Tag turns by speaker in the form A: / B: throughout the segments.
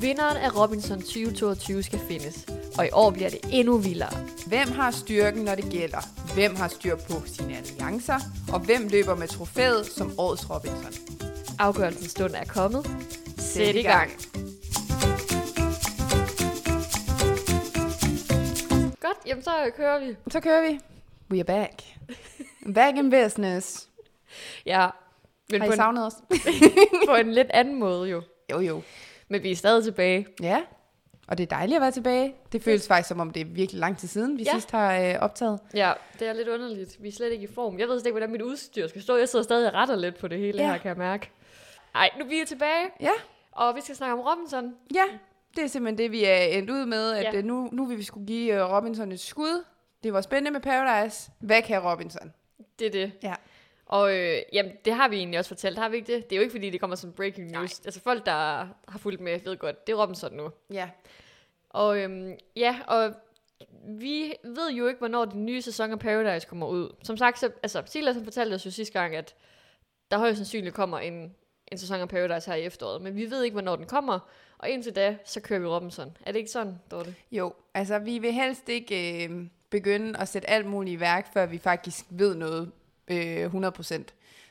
A: Vinderen af Robinson 2022 skal findes, og i år bliver det endnu vildere.
B: Hvem har styrken, når det gælder? Hvem har styr på sine alliancer? Og hvem løber med trofæet som årets Robinson?
A: Afgørelsens stund er kommet. Sæt
B: i
A: i gang.
B: gang.
A: Godt, jamen så kører vi.
B: Så kører vi. We are back. Back in business.
A: Ja, men
B: Har
A: på
B: I
A: en,
B: savnet os?
A: på en lidt anden måde jo.
B: jo, jo.
A: Men vi er stadig tilbage.
B: Ja. Og det er dejligt at være tilbage. Det føles faktisk, som om det er virkelig lang tid siden, vi
A: Ja.
B: sidst har øh, optaget.
A: Ja, det er lidt underligt. Vi er slet ikke i form. Jeg ved slet ikke, hvordan mit udstyr skal stå. Jeg sidder stadig og retter lidt på det hele
B: Ja.
A: her, kan jeg mærke. Ej, nu vi er tilbage,
B: Ja.
A: og vi skal snakke om Robinson.
B: Ja, det er simpelthen det, vi er endt ud med, at
A: Ja.
B: ja. nu, nu vil vi skulle give øh, Robinson et skud. Det var spændende med Paradise. Hvad kan Robinson?
A: Det er det.
B: Ja.
A: Og øh, jamen, det har vi egentlig også fortalt, har vi ikke det? Det er jo ikke, fordi det kommer som breaking news. Nej. Altså folk, der har fulgt med, ved godt, det er Robinson nu.
B: Ja.
A: Og øhm, ja, og vi ved jo ikke, hvornår den nye sæson af Paradise kommer ud. Som sagt, så, altså, Silas han fortalte os jo sidste gang, at der højst sandsynligt kommer en, en sæson af Paradise her i efteråret. Men vi ved ikke, hvornår den kommer. Og indtil da, så kører vi Robinson. Er det ikke sådan, Dorte?
B: Jo, altså vi vil helst ikke øh, begynde at sætte alt muligt i værk, før vi faktisk ved noget øh, 100%.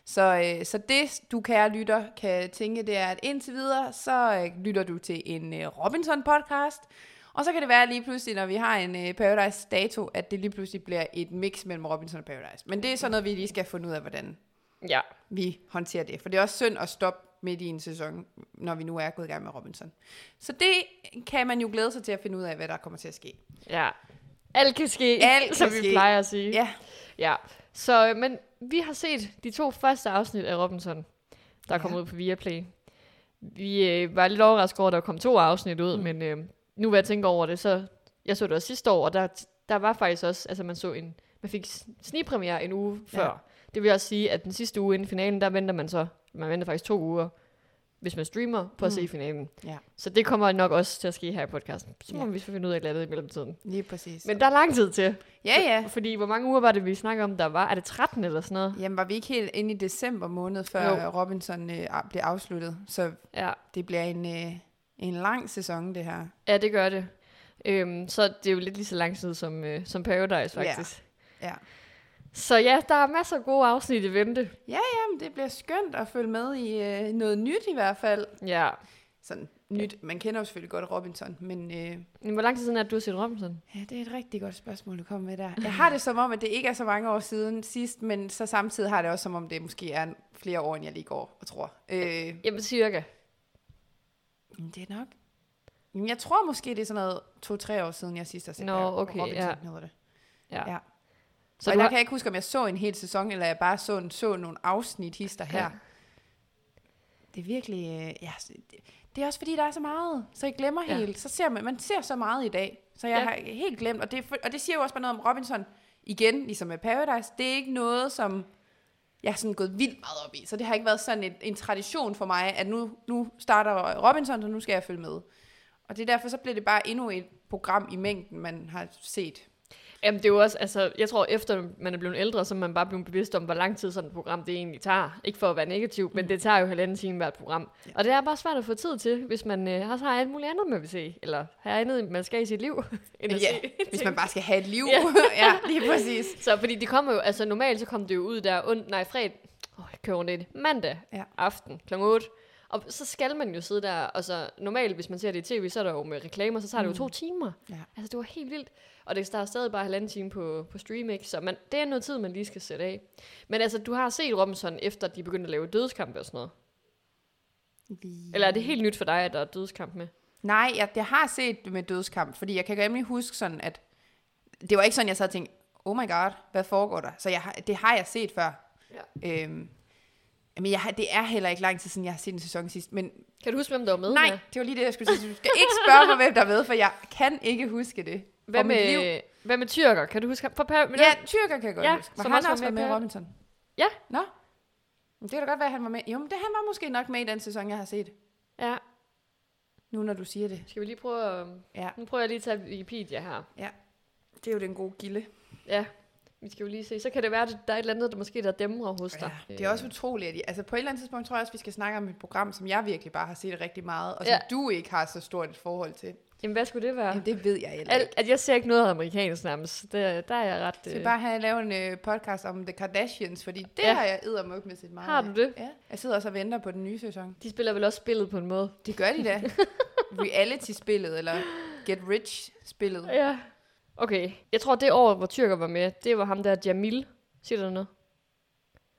B: Så, øh, så det, du kære lytter, kan tænke, det er, at indtil videre, så øh, lytter du til en øh, Robinson-podcast. Og så kan det være lige pludselig, når vi har en øh, Paradise-dato, at det lige pludselig bliver et mix mellem Robinson og Paradise. Men det er sådan noget, vi lige skal finde ud af, hvordan
A: Ja.
B: vi håndterer det. For det er også synd at stoppe midt i en sæson, når vi nu er gået i gang med Robinson. Så det kan man jo glæde sig til at finde ud af, hvad der kommer til at ske.
A: Ja. Alt kan ske,
B: Alt kan
A: som vi
B: ske.
A: plejer at sige.
B: Ja,
A: Ja, så øh, men vi har set de to første afsnit af Robinson, der er kommet ud på Viaplay. Vi øh, var lidt overrasket over, at der kom to afsnit ud, mm. men øh, nu vil jeg tænke over det, så jeg så det også sidste år, og der, der var faktisk også, altså man så en, man fik s- snigpremiere en uge
B: Ja.
A: før. Det vil også sige, at den sidste uge inden finalen, der venter man så, man venter faktisk to uger, hvis man streamer, på at se finalen.
B: Mm. Ja.
A: Så det kommer nok også til at ske her i podcasten. Så må
B: Ja.
A: vi så finde ud af et eller andet i mellemtiden.
B: lige præcis.
A: Men der er lang tid til.
B: ja, ja.
A: Fordi hvor mange uger var det, vi snakkede om, der var? Er det 13 eller sådan noget?
B: Jamen, var vi ikke helt inde i december måned, før
A: Jo.
B: Robinson øh, a- blev afsluttet? Så
A: Ja,
B: det bliver en, øh, en lang sæson, det her.
A: ja det gør det. Øhm, så det er jo lidt lige så lang tid som, øh, som Paradise,
B: Ja.
A: faktisk.
B: Ja.
A: Så ja, der er masser af gode afsnit i vente.
B: Jamen, det bliver skønt at følge med i øh, noget nyt i hvert fald.
A: Ja.
B: Sådan nyt. Man kender jo selvfølgelig godt Robinson, men øh,
A: Men Hvor lang tid siden er det, du har set Robinson?
B: Ja, det er et rigtig godt spørgsmål, du kom med der. Jeg har det som om, at det ikke er så mange år siden sidst, men så samtidig har jeg det også som om, det måske er flere år, end jeg lige går og tror. Øh,
A: Jamen cirka.
B: men det er nok... Jamen, Jeg tror måske, det er sådan noget to-tre år siden, jeg sidst har set
A: Nå,
B: Barry
A: okay,
B: Robinson,
A: ja.
B: hedder det.
A: Ja.
B: Ja.
A: Så
B: Så og
A: du har...
B: der har... kan jeg ikke huske, om jeg så en hel sæson, eller jeg bare så, en, så nogle afsnit hister her.
A: Ja.
B: Ja. Det er virkelig... øh, Ja, s- det, det er også fordi, der er så meget, så jeg glemmer
A: Ja.
B: ja. helt. Så ser man, man ser så meget i dag, så jeg
A: Ja.
B: ja. har helt glemt. Og det, er fu- og det siger jo også bare noget om Robinson igen, ligesom med Paradise. Det er ikke noget, som jeg er sådan gået vildt meget op i. Så det har ikke været sådan en, en tradition for mig, at nu, nu starter Robinson, så nu skal jeg følge med. Og det er derfor, så bliver det bare endnu et program i mængden, man har set.
A: Jamen det er jo også, altså jeg tror efter man er blevet ældre, så er man bare blevet bevidst om, hvor lang tid sådan et program det egentlig tager. Ikke for at være negativ,
B: Mm.
A: men det tager jo halvanden time hvert program. Ja. Og det er bare svært at få tid til, hvis man øh, også har alt muligt andet, man vil se. Eller har andet, man skal i sit liv. end at
B: Ja,
A: se
B: hvis
A: ting.
B: man bare skal have et liv. ja, lige præcis.
A: Så fordi det kommer jo, altså normalt så kom det jo ud der und, nej fredag, åh, jeg kører rundt i det, mandag ja.
B: Ja.
A: aften kl. 8. Og så skal man jo sidde der, og så normalt, hvis man ser det i tv, så er der jo med reklamer, så tager det jo to timer.
B: Mm. Ja.
A: Altså det var helt vildt. Og det starter stadig bare halvanden time på, på stream, ikke? Så man, det er noget tid, man lige skal sætte af. Men altså, du har set Robinson, efter de begyndte at lave dødskampe og sådan noget.
B: Mm.
A: Eller er det helt nyt for dig, at der er dødskamp med?
B: Nej, jeg, jeg har set det med dødskamp, fordi jeg kan nemlig huske sådan, at det var ikke sådan, jeg sad og tænkte, oh my god, hvad foregår der? Så jeg, har- det har jeg set før. Ja. Øhm, men jeg, har- det er heller ikke lang tid siden, jeg har set en sæson sidst. Men
A: Kan du huske, hvem der var med?
B: nej,
A: her?
B: det var lige det, jeg skulle sige. Du skal ikke spørge mig, hvem der er med, for jeg kan ikke huske det. fra
A: Hvad
B: mit liv.
A: med, hvad med tyrker? Kan du huske ham? For per,
B: Ja, tyrker kan jeg godt
A: Ja,
B: ja, huske.
A: som
B: Var han
A: også var
B: også var
A: med
B: med,
A: i
B: med
A: Paradise.
B: Robinson?
A: Ja.
B: Nå, Men det kan da godt være, at han var med. Jo, men det, han var måske nok med i den sæson, jeg har set.
A: ja.
B: Nu når du siger det.
A: Skal vi lige prøve at...
B: Ja.
A: Nu prøver jeg lige at tage Wikipedia her.
B: Det er jo den gode gilde.
A: Ja. Vi skal jo lige se. Så kan det være, at der er et eller andet, der måske der dæmrer hos dig.
B: Ja, det er også utroligt. At I, altså på et eller andet tidspunkt tror jeg også, vi skal snakke om et program, som jeg virkelig bare har set rigtig meget, og som
A: Ja.
B: du ikke har så stort et forhold til.
A: Jamen, hvad skulle det være?
B: Jamen, det ved jeg heller
A: Al,
B: ikke.
A: at jeg ser ikke noget amerikansk nærmest. Det, der er jeg ret...
B: Skal vi
A: øh,
B: bare have lavet en øh, podcast om The Kardashians, fordi det
A: Ja.
B: har jeg eddermuk med sit meget.
A: Har du
B: af.
A: det?
B: Ja. Jeg sidder også og venter på den nye sæson.
A: De spiller vel også spillet på en måde.
B: Det gør de da. Reality-spillet, eller Get Rich-spillet.
A: Ja. Okay, jeg tror det år, hvor tyrker var med, det var ham der Jamil. Siger du noget?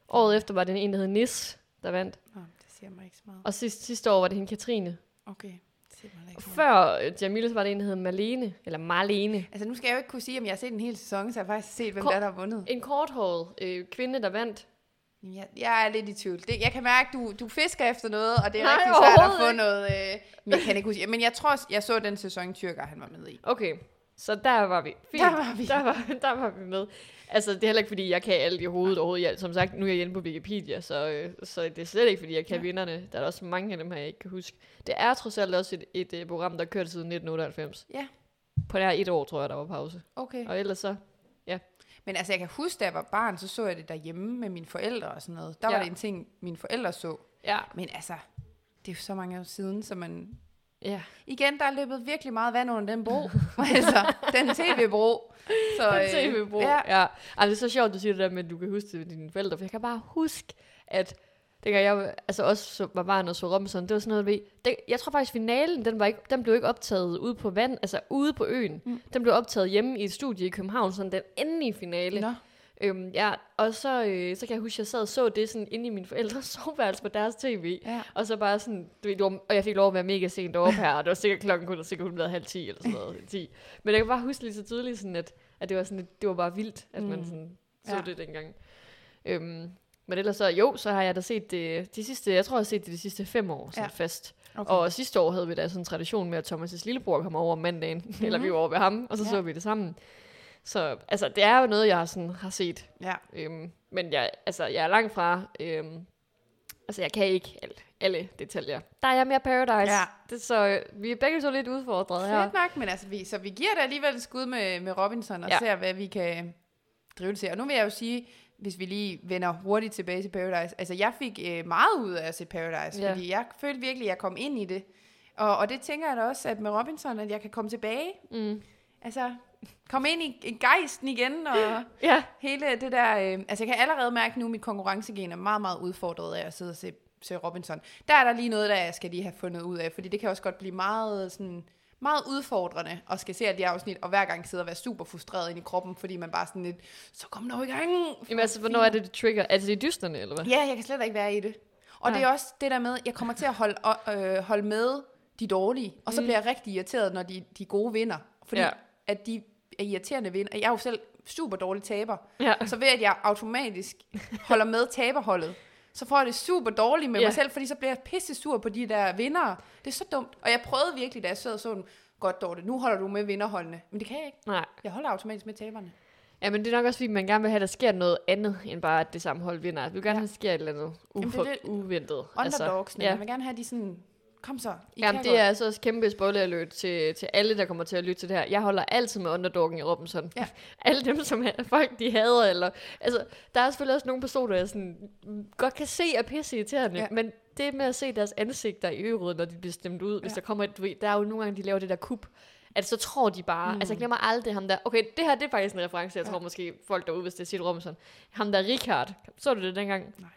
A: Året efter var det en, der hed Nis, der vandt.
B: Nå, det siger mig ikke så meget.
A: Og sidste, sidste år var det hende Katrine.
B: Okay, det siger mig heller
A: Og
B: ikke så meget.
A: før øh, Jamil, så var det en, der hed Malene. Eller Marlene.
B: Altså nu skal jeg jo ikke kunne sige, om jeg har set en hel sæson, så jeg har faktisk set, hvem
A: Kom.
B: der, er, der har vundet.
A: En korthåret øh, kvinde, der vandt.
B: Jamen, Jeg, jeg er lidt i tvivl. Det, jeg kan mærke, du, du fisker efter noget, og det er
A: Nej,
B: rigtig svært at få
A: overhovedet
B: noget. Øh, men jeg kan ikke huske. Men jeg tror, jeg så den sæson, Tyrker han var med i.
A: Okay, så der var vi. Fint.
B: Der var vi.
A: Der var, der var vi med. Altså, det er heller ikke, fordi jeg kan alt i hovedet overhovedet. Jeg, som sagt, nu er jeg inde på Wikipedia, så, øh, så det er slet ikke, fordi jeg kan
B: Ja.
A: ja. vinderne. Der er også mange af dem her, jeg ikke kan huske. Det er trods alt også et, et, et program, der har kørt siden 1998.
B: Ja.
A: På nær et år, tror jeg, der var pause.
B: Okay.
A: Og ellers så...
B: Men altså, jeg kan huske, da jeg var barn, så så jeg det derhjemme med mine forældre og sådan noget. Der ja. var
A: Ja.
B: det en ting, mine forældre så.
A: Ja.
B: Men altså, det er jo så mange år siden, så man...
A: Ja.
B: Igen, der er løbet virkelig meget vand under den bro. altså, den tv-bro. Så,
A: Den
B: øh,
A: tv-bro.
B: Ja,
A: Ja. ja. Ej, det er så sjovt, du siger det der med, at du kan huske det med dine forældre. For jeg kan bare huske, at dengang jeg var- altså også så- var barn og så Robinson, det var sådan noget, ved, det, jeg tror faktisk, finalen, den, var ikke, den blev ikke optaget ude på vand, altså ude på øen.
B: Mm.
A: Mm. Den blev optaget hjemme i et studie i København, sådan den endelige finale.
B: Nå.
A: Øhm, ja, og så, øh, så kan jeg huske, at jeg sad og så det sådan inde i mine forældres soveværelse på deres tv.
B: Ja.
A: Og så bare sådan, du ved, det var, og jeg fik lov at være mega sent oppe her, og det var sikkert klokken kun, og sikkert hun blev halv ti eller sådan noget, 10. Men jeg kan bare huske lige så tydeligt sådan, at, at det var sådan, lidt- det var bare vildt, at
B: Mm.
A: man sådan så
B: Ja.
A: ja. det dengang. Øhm, men ellers så, jo, så har jeg da set det de sidste, jeg tror jeg har set det de sidste fem år sådan
B: Ja.
A: ja. fast.
B: Okay.
A: Okay. Og sidste år havde vi da sådan en tradition med, at Thomas' lillebror kom over om mandagen, mm-hmm. eller vi var over ved ham, og så
B: Mhm. Ja.
A: ja. så vi det sammen. Så altså, det er jo noget, jeg sådan, har set
B: ja.
A: Øhm, men jeg, altså, jeg er langt fra... Øhm, altså, jeg kan ikke alt, alle detaljer. Der er jeg mere Paradise.
B: Ja.
A: Det, så øh, vi er begge så lidt udfordret her.
B: Fedt nok, men altså, vi, så vi giver det alligevel et skud med, med Robinson og ja.
A: Ja.
B: ser, hvad vi kan drive det til. Og nu vil jeg jo sige, hvis vi lige vender hurtigt tilbage til Paradise, altså jeg fik øh, meget ud af at se Paradise, ja.
A: Ja.
B: fordi jeg følte virkelig, at jeg kom ind i det. Og, og det tænker jeg da også, at med Robinson, at jeg kan komme tilbage.
A: Mm.
B: Altså, komme ind i, i gejsten igen, og
A: Ja.
B: hele det der... Øh, altså, jeg kan allerede mærke nu, at mit konkurrencegen er meget, meget udfordret af at sidde og se, se Robinson. Der er der lige noget, der jeg skal lige have fundet ud af, fordi det kan også godt blive meget sådan meget udfordrende at skal se alle de afsnit, og hver gang sidde og være super frustreret ind i kroppen, fordi man bare sådan lidt, så kom nu i gang.
A: Jamen, altså, hvornår er det, det trigger? Er det i dysterne, eller hvad?
B: Ja, jeg kan slet ikke være i det. Og det er også det der med, at jeg kommer til at holde, øh, holde med de dårlige, og så bliver jeg rigtig irriteret, når de, de gode vinder. Fordi ja.
A: Ja.
B: at de er irriterende vinder. Og jeg er jo selv super dårlig taber.
A: Ja.
B: Så ved at jeg automatisk holder med taberholdet, så får jeg det super dårligt med ja.
A: Ja.
B: mig selv, fordi så bliver jeg pisse sur på de der vindere. Det er så dumt. Og jeg prøvede virkelig, da jeg sad og så den, godt Dorte, nu holder du med vinderholdene. Men det kan jeg ikke.
A: Nej.
B: Jeg holder automatisk med taberne.
A: Ja, men det er nok også, fordi man gerne vil have, at der sker noget andet, end bare, at det samme hold vinder. Du vil gerne
B: Ja.
A: have, at der sker et eller andet
B: Jamen, det
A: ufor-
B: er lidt
A: uventet. Altså,
B: Underdogsene.
A: ja.
B: Jeg vil gerne have de sådan, kom så, I
A: Jamen,
B: kan
A: det
B: godt.
A: er altså også kæmpe spoileralert til, til alle, der kommer til at lytte til det her. Jeg holder altid med underdoggen i Robinson.
B: Ja.
A: alle dem, som er, folk, de hader. Eller, altså, der er selvfølgelig også nogle personer, jeg sådan, mm, godt kan se er pisse irriterende,
B: Ja.
A: ja. men det med at se deres ansigter i øvrigt, når de bliver stemt ud, ja. hvis
B: Ja.
A: der kommer et, du ved, der er jo nogle gange, de laver det der kup, at så tror de bare, mm. altså jeg glemmer aldrig ham der, okay, det her det er faktisk en reference, jeg
B: Ja.
A: tror måske folk derude, hvis det er Sid Robinson, ham der Richard, så du det dengang?
B: Nej.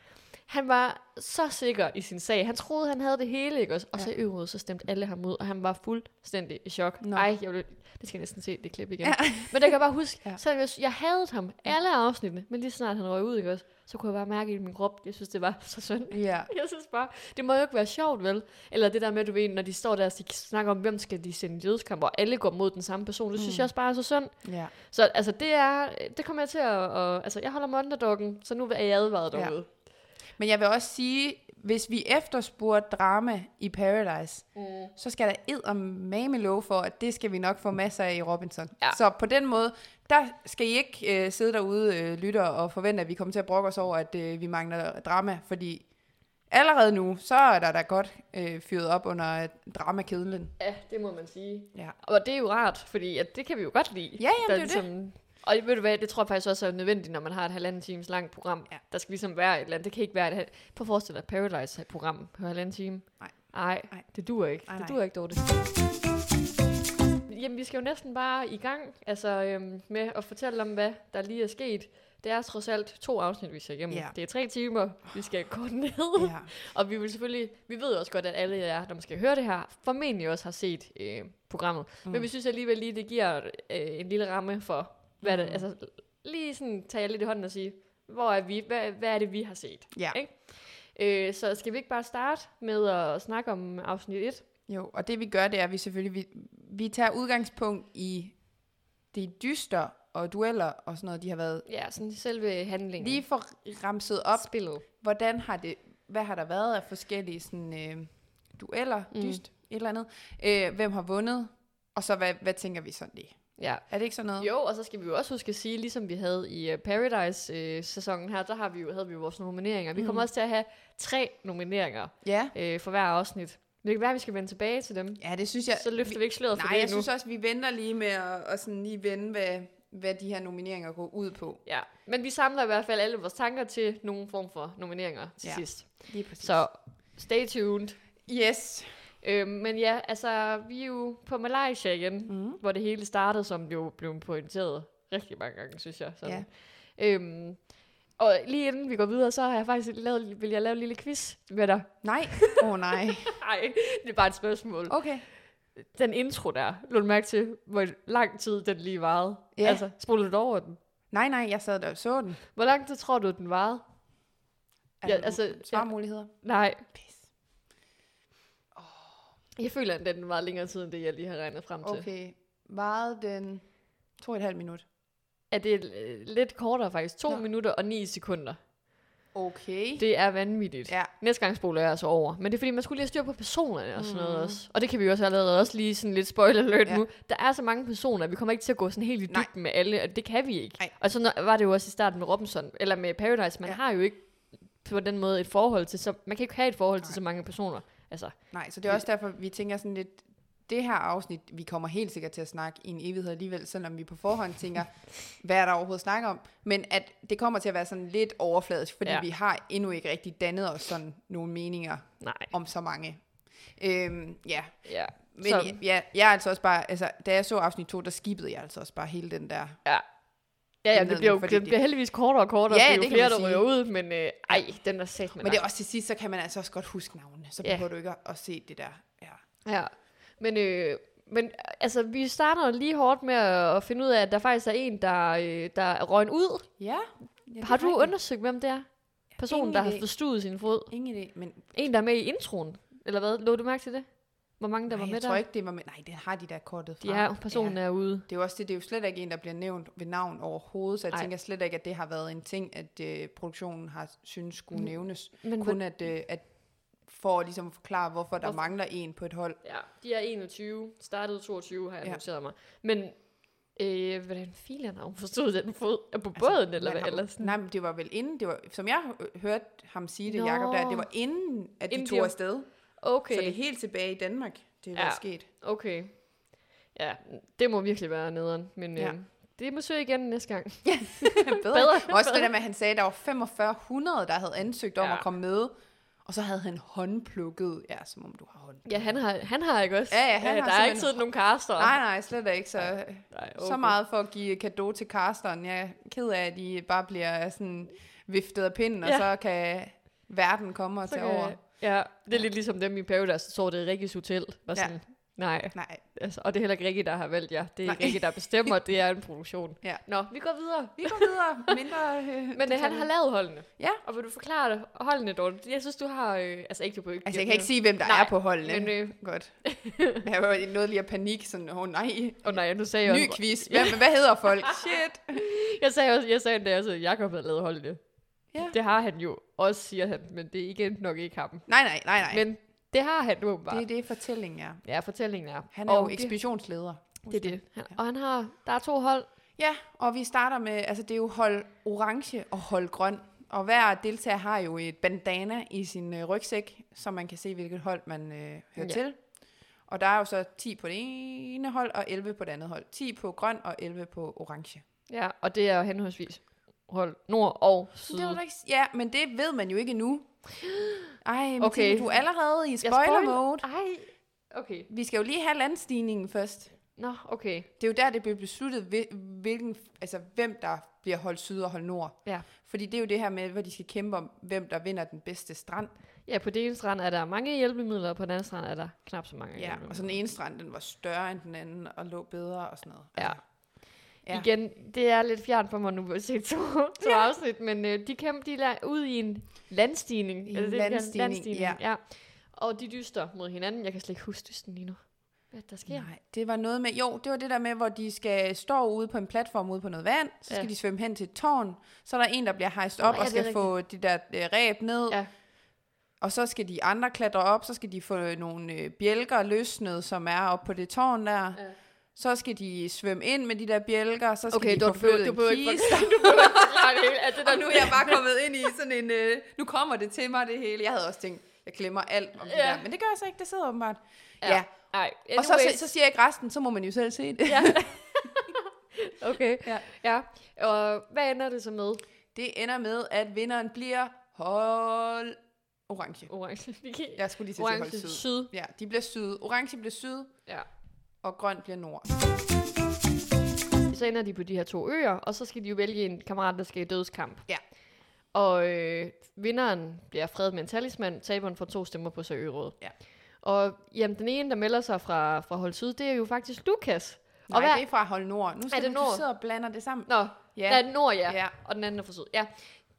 A: Han var så sikker i sin sag. Han troede, han havde det hele, ikke også? Og
B: Ja.
A: så i øvrigt, så stemte alle ham ud, og han var fuldstændig i chok.
B: Nå.
A: Nej, jeg vil, det skal jeg næsten se, det klip igen.
B: Ja.
A: Ja. Men der kan jeg bare huske,
B: Ja.
A: ja. selvom jeg, jeg havde ham alle afsnittene, men lige snart han røg ud, ikke også, så kunne jeg bare mærke i min krop, jeg synes, det var så synd.
B: Ja.
A: Jeg synes bare, det må jo ikke være sjovt, vel? Eller det der med, du ved, når de står der og de snakker om, hvem skal de sende i jødskamp, og alle går mod den samme person,
B: Mm.
A: det synes jeg også bare er så synd.
B: ja.
A: Så altså, det er, det kommer jeg til at, og, altså, jeg holder med underdoggen, så nu er jeg advaret
B: Ja.
A: derude. Ja.
B: Men jeg vil også sige, hvis vi efterspurgte drama i Paradise, mm. så skal der ed og mame lov for, at det skal vi nok få masser af i Robinson.
A: Ja.
B: Så på den måde, der skal I ikke øh, sidde derude, øh, lytter, og forvente, at vi kommer til at brokke os over, at øh, vi mangler drama, fordi allerede nu, så er der da godt øh, fyret op under øh, dramakedlen.
A: Ja, det må man sige.
B: Ja.
A: Og det er jo rart, fordi at det kan vi jo godt lide.
B: Ja, jamen, det er jo
A: ligesom, det. Og ved du hvad, det tror jeg faktisk også er nødvendigt, når man har et halvanden times langt program.
B: Ja.
A: Ja. Der skal ligesom være et eller andet. Det kan ikke være et halv... Prøv at forestille dig et Paradise-program på halvanden time.
B: Nej.
A: Nej,
B: Nej.
A: det duer ikke.
B: Nej,
A: det
B: nej.
A: duer ikke, Dorte. Jamen, vi skal jo næsten bare i gang altså, øhm, med at fortælle om, hvad der lige er sket. Det er trods alt to afsnit, vi ser igennem.
B: Ja.
A: Det er tre timer, vi skal kort ned.
B: Ja.
A: Og vi vil selvfølgelig, vi ved også godt, at alle jer, der måske hører det her, formentlig også har set øh, programmet. Mm. Men vi synes alligevel lige, det giver øh, en lille ramme for, hvad mm. det,
B: Mm.
A: altså lige sådan tage jer lidt i hånden og sige, hvor er vi, hvad, hvad er det, vi har set?
B: ja.
A: Øh, så skal vi ikke bare starte med at snakke om afsnit 1?
B: Jo, og det vi gør, det er, at vi selvfølgelig vi, vi tager udgangspunkt i de dyster og dueller og sådan noget, de har været.
A: Ja, sådan selve handlingen.
B: Lige for ramset op,
A: spillet.
B: hvordan har det, hvad har der været af forskellige sådan, øh, dueller,
A: Mm.
B: dyst, et eller andet. Øh, hvem har vundet, og så hvad, hvad tænker vi sådan lige?
A: Ja.
B: Er det ikke sådan noget?
A: Jo, og så skal vi jo også huske at sige, ligesom vi havde i øh, Paradise-sæsonen her, der har vi jo, havde vi jo vores nomineringer. Vi kommer også til at have tre nomineringer
B: Ja.
A: øh, for hver afsnit. Men det kan være, at vi skal vende tilbage til dem.
B: Ja, det synes jeg.
A: Ja, så løfter vi, vi ikke sløret for
B: Nej,
A: det
B: jeg
A: endnu.
B: synes også, vi venter lige med at og sådan lige vende, hvad, hvad de her nomineringer går ud på.
A: Ja. Men vi samler i hvert fald alle vores tanker til nogen form for nomineringer til
B: Ja.
A: ja. sidst.
B: Lige præcis. Så.
A: Så stay tuned.
B: Yes.
A: Øhm, men ja, altså, vi er jo på Malaysia igen,
B: Mm.
A: hvor det hele startede, som det jo blev pointeret rigtig mange gange, synes jeg. Sådan.
B: Ja.
A: Øhm, og lige inden vi går videre, så har jeg faktisk lavet, vil jeg lave en lille quiz med dig.
B: Nej. Åh oh, nej.
A: Nej, det er bare et spørgsmål.
B: Okay.
A: Den intro der, lå du mærke til, hvor lang tid den lige varede?
B: Ja.
A: Altså, spolede du over den?
B: Nej, nej, jeg sad der og så den.
A: Hvor lang tid tror du, den varede?
B: Er
A: Ja,
B: der
A: altså,
B: u- svarmuligheder.
A: Nej,
B: Pis.
A: Jeg føler, at den var længere tid, end det, jeg lige har regnet frem til. Okay.
B: Okay. Varede den to og et halvt minut.
A: Er det øh, lidt kortere faktisk? 2
B: Nå.
A: minutter og 9 sekunder.
B: Okay.
A: Det er vanvittigt. Ja.
B: Ja.
A: Næste gang spoler jeg altså over. Men det er fordi, man skulle lige have styr på personerne og sådan noget også. Og det kan vi jo også allerede også lige sådan lidt spoiler alert
B: Mm. Ja.
A: ja. nu. Der er så mange personer, vi kommer ikke til at gå sådan helt i
B: Nej.
A: dybden med alle, og det kan vi ikke.
B: Nej.
A: Og sådan var det jo også i starten med Robinson, eller med Paradise. Man
B: Ja.
A: ja. har jo ikke på den måde et forhold til, så man kan ikke have et forhold til
B: Nej.
A: så mange personer. Altså,
B: Nej, så det er også derfor, vi tænker sådan lidt, det her afsnit, vi kommer helt sikkert til at snakke i en evighed alligevel, selvom vi på forhånd tænker, hvad er der overhovedet snak om? Men at det kommer til at være sådan lidt overfladisk, fordi ja.
A: Ja.
B: vi har endnu ikke rigtig dannet os sådan nogle meninger
A: nej.
B: om så mange. Øhm, ja,
A: Ja.
B: men
A: Så-
B: ja, ja, jeg er altså også bare, altså, da jeg så afsnit 2, der skibede jeg altså også bare hele den der
A: Ja. Ja, ja,
B: Indledning,
A: det bliver jo
B: fordi
A: det
B: det-
A: bliver heldigvis kortere og kortere,
B: Ja,
A: ja,
B: det
A: jo
B: kan
A: flere,
B: man sige.
A: der ryger ud, men øh, ej, den er sæt med
B: Men det er også til sidst, så kan man altså også godt huske navnene. Så
A: Ja.
B: behøver du ikke at- at se det der. Ja.
A: Ja, men, øh, men altså, vi starter jo lige hårdt med at, at finde ud af, at der faktisk er en, der, øh, der er røgn ud.
B: ja. ja
A: har du undersøgt, hvem det er? Personen,
B: ingen
A: der har
B: idé.
A: forstuet sin fod.
B: Ingen idé, men
A: En, der er med i introen, eller hvad? Lå du mærke til det? Hvor mange, der
B: der nej,
A: var med
B: jeg
A: der?
B: tror ikke, det var med. Nej, det har de der kortet fra.
A: De er, personen
B: Ja.
A: ja. er ude.
B: Det er jo også det, det er jo slet ikke en, der bliver nævnt ved navn overhovedet, så jeg Ej.
A: Nej.
B: tænker slet ikke, at det har været en ting, at øh, produktionen har synes skulle mm. nævnes.
A: Men
B: Kun at, øh, at for ligesom at forklare, hvorfor der
A: Hvorfor-
B: mangler en på et hold. Altså,
A: Ja, de er 21, startede 22, har jeg
B: Ja.
A: ja. noteret mig. Men øh, hvordan filen har hun forstået den fod? Er på altså, båden, eller hvad
B: man har-
A: ellers?
B: Nej, men det var vel inden, det var, som jeg hø- hørte ham sige det,
A: Nå.
B: Jacob, der, det var inden, at
A: Inden
B: de inden tog
A: de-
B: afsted. Okay.
A: Okay,
B: Så det er helt tilbage i Danmark, det var
A: Ja.
B: sket.
A: okay. Ja, det må virkelig være nederen, men
B: Ja.
A: ja. øh, det må søge igen næste gang.
B: bedre.
A: Bedre.
B: Også det der med, at han sagde, at der var 4500, der havde ansøgt om ja.
A: Ja.
B: at komme med. Og så havde han håndplukket. Ja, som om du har hånd.
A: Ja, han har, han har ikke også.
B: Ja, ja, han
A: ja, Der
B: har
A: er
B: simpelthen-
A: ikke siddet nogen kaster.
B: Nej, nej, slet ikke. Så,
A: Nej
B: så meget for at give kado til Carsten. Jeg er ked af, at I bare bliver sådan viftet af pinden, ja. og
A: Ja.
B: så kan verden komme og
A: så
B: tage
A: kan-
B: over.
A: Ja, det er lidt ligesom dem i Paradise, der så det i Rikkes Hotel. Var
B: Ja.
A: sådan, ja. Nej,
B: Nej,
A: altså, og det er heller ikke Rikke, der har valgt jer. Det er
B: Nej.
A: ikke Rikke, der bestemmer, det er en produktion.
B: Ja.
A: Nå, vi går videre.
B: vi går videre. Mindre... Øh,
A: Men øh, han har lavet holdene.
B: Ja.
A: Og vil du forklare det? holdene, Dorte? Jeg synes, du har... Øh, altså ikke, du på ikke...
B: Altså, jeg kan ikke sige, hvem der
A: Nej,
B: er på holdene.
A: Men,
B: Men,
A: øh,
B: Godt. Jeg var i noget lige at panik, sådan, åh oh, nej,
A: og øh, nej, nu sagde jeg
B: ny
A: også...
B: quiz. Hvem, hvad hedder folk? Shit.
A: Jeg sagde også, jeg sagde, da jeg sagde, at Jacob havde lavet holdene.
B: Ja.
A: Det har han jo også, siger han, men det er igen nok ikke ham.
B: Nej, nej, nej, nej.
A: Men det har han åbenbart.
B: Det er
A: Det,
B: det, fortællingen er.
A: ja, fortællingen er.
B: Han er og jo
A: det-
B: ekspeditionsleder.
A: Det er det. Han, og han har, der er to hold.
B: Ja, og vi starter med, altså det er jo hold orange og hold grøn. Og hver deltager har jo et bandana i sin øh, rygsæk, så man kan se, hvilket hold man øh, hører ja.
A: Ja.
B: til. Og der er jo så 10 på det ene hold og 11 på det andet hold. 10 på grøn og 11 på orange.
A: Ja, og det er jo henholdsvis hold nord og syd.
B: Det var da ikke, ja, men det ved man jo ikke endnu. Ej, men
A: Okay.
B: okay. du er allerede i
A: Jeg
B: spoiler mode.
A: Ej, okay.
B: Vi skal jo lige have landstigningen først.
A: Nå, okay.
B: Det er jo der, det bliver besluttet, hvil- hvilken, altså, hvem der bliver holdt syd og holdt nord.
A: Ja.
B: Fordi det er jo det her med, hvor de skal kæmpe om, hvem der vinder den bedste strand.
A: Ja, på den ene strand er der mange hjælpemidler, og på den anden strand er der knap så mange
B: Ja,
A: hjælpemidler.
B: og så den ene strand, den var større end den anden, og lå bedre og sådan noget.
A: Ja.
B: Ja.
A: Igen, det er lidt fjern for mig nu at se to, to ja. afsnit, men øh, de kæmper de er ud i en landstigning.
B: I en
A: det, de kalder
B: landstigning, ja.
A: ja. Og de dyster mod hinanden. Jeg kan slet ikke huske dysten lige nu. Hvad der sker?
B: Nej, det var noget med, jo, det var det der med, hvor de skal stå ude på en platform ude på noget vand, så skal
A: Ja.
B: ja. de svømme hen til et tårn, så er der en, der bliver hejst op
A: Nå,
B: Nå,
A: ja,
B: og
A: det er
B: skal få de der øh, ræb ned,
A: Ja.
B: ja. og så skal de andre klatre op, så skal de få nogle øh, bjælker løsnet, som er oppe på det tårn der,
A: Ja.
B: ja. så skal de svømme ind med de der bjælker, så skal
A: Okay,
B: de
A: du, du,
B: få
A: behøver-
B: flyttet
A: du
B: en
A: behøver ikke
B: kiste.
A: forklare, du behøver ikke forklare det hele. Altså,
B: Og nu er jeg bare kommet ind i sådan en, øh, nu kommer det til mig det hele. Jeg havde også tænkt, jeg glemmer alt om ja. det
A: Ja.
B: der, men det gør jeg så ikke, det sidder åbenbart.
A: Ja.
B: Ja. ja.
A: Nej,
B: Og så, så, så siger jeg ikke resten, så må man jo selv se det.
A: ja. okay, ja.
B: Ja.
A: ja. Og hvad ender det så med?
B: Det ender med, at vinderen bliver hold orange.
A: Orange. Vi kan-
B: Jeg skulle lige til at sige hold
A: Orange
B: syd.
A: syd.
B: Ja, de bliver syd. Orange bliver syd,
A: Ja.
B: og grøn bliver nord.
A: Så ender de på de her to øer, og så skal de jo vælge en kammerat, der skal i dødskamp.
B: Ja.
A: Og øh, vinderen bliver fred med en talisman, taberen får to stemmer på sig i ørådet.
B: Ja.
A: Og jamen, den ene, der melder sig fra, fra Hold Syd, det er jo faktisk Lukas.
B: Nej,
A: og hvad?
B: det er fra hold nord. Nu skal
A: det
B: du,
A: nord?
B: du sidde og blander det sammen.
A: Nå, ja. der er Nord, ja. ja.
B: Ja.
A: Og den anden er fra Syd. Ja,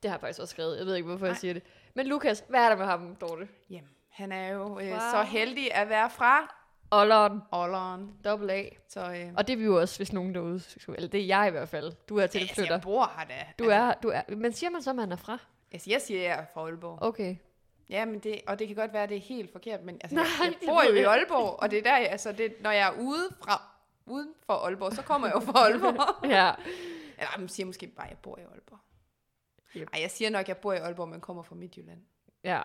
A: det har jeg faktisk også skrevet. Jeg ved ikke, hvorfor Nej. jeg
B: Nej.
A: siger det. Men Lukas, hvad er der med ham, Dorte?
B: Jamen, han er jo øh,
A: Fra-
B: så heldig at være fra
A: Olleren,
B: Olleren.
A: dobbelt A.
B: Så øh,
A: Og det er vi jo også, hvis nogen derude, eller det er jeg i hvert fald. Du er
B: altså,
A: tilflytter.
B: jeg bor her da.
A: Du er, du er, men siger man så, at man er fra?
B: Altså, jeg siger, at jeg er fra Aalborg.
A: Okay.
B: Ja, men det, og det kan godt være, at det er helt forkert, men altså,
A: Nej,
B: Nej, jeg,
A: det
B: jeg bor
A: ved
B: jo i
A: jeg
B: Aalborg, og det er der, jeg- altså, det, når jeg er ude fra, uden for Aalborg, så kommer jeg jo fra Aalborg.
A: Ja.
B: Eller man siger måske bare, at jeg bor i Aalborg.
A: Yep.
B: Ej, jeg siger nok, at jeg bor i Aalborg, men kommer fra Midtjylland.
A: Ja.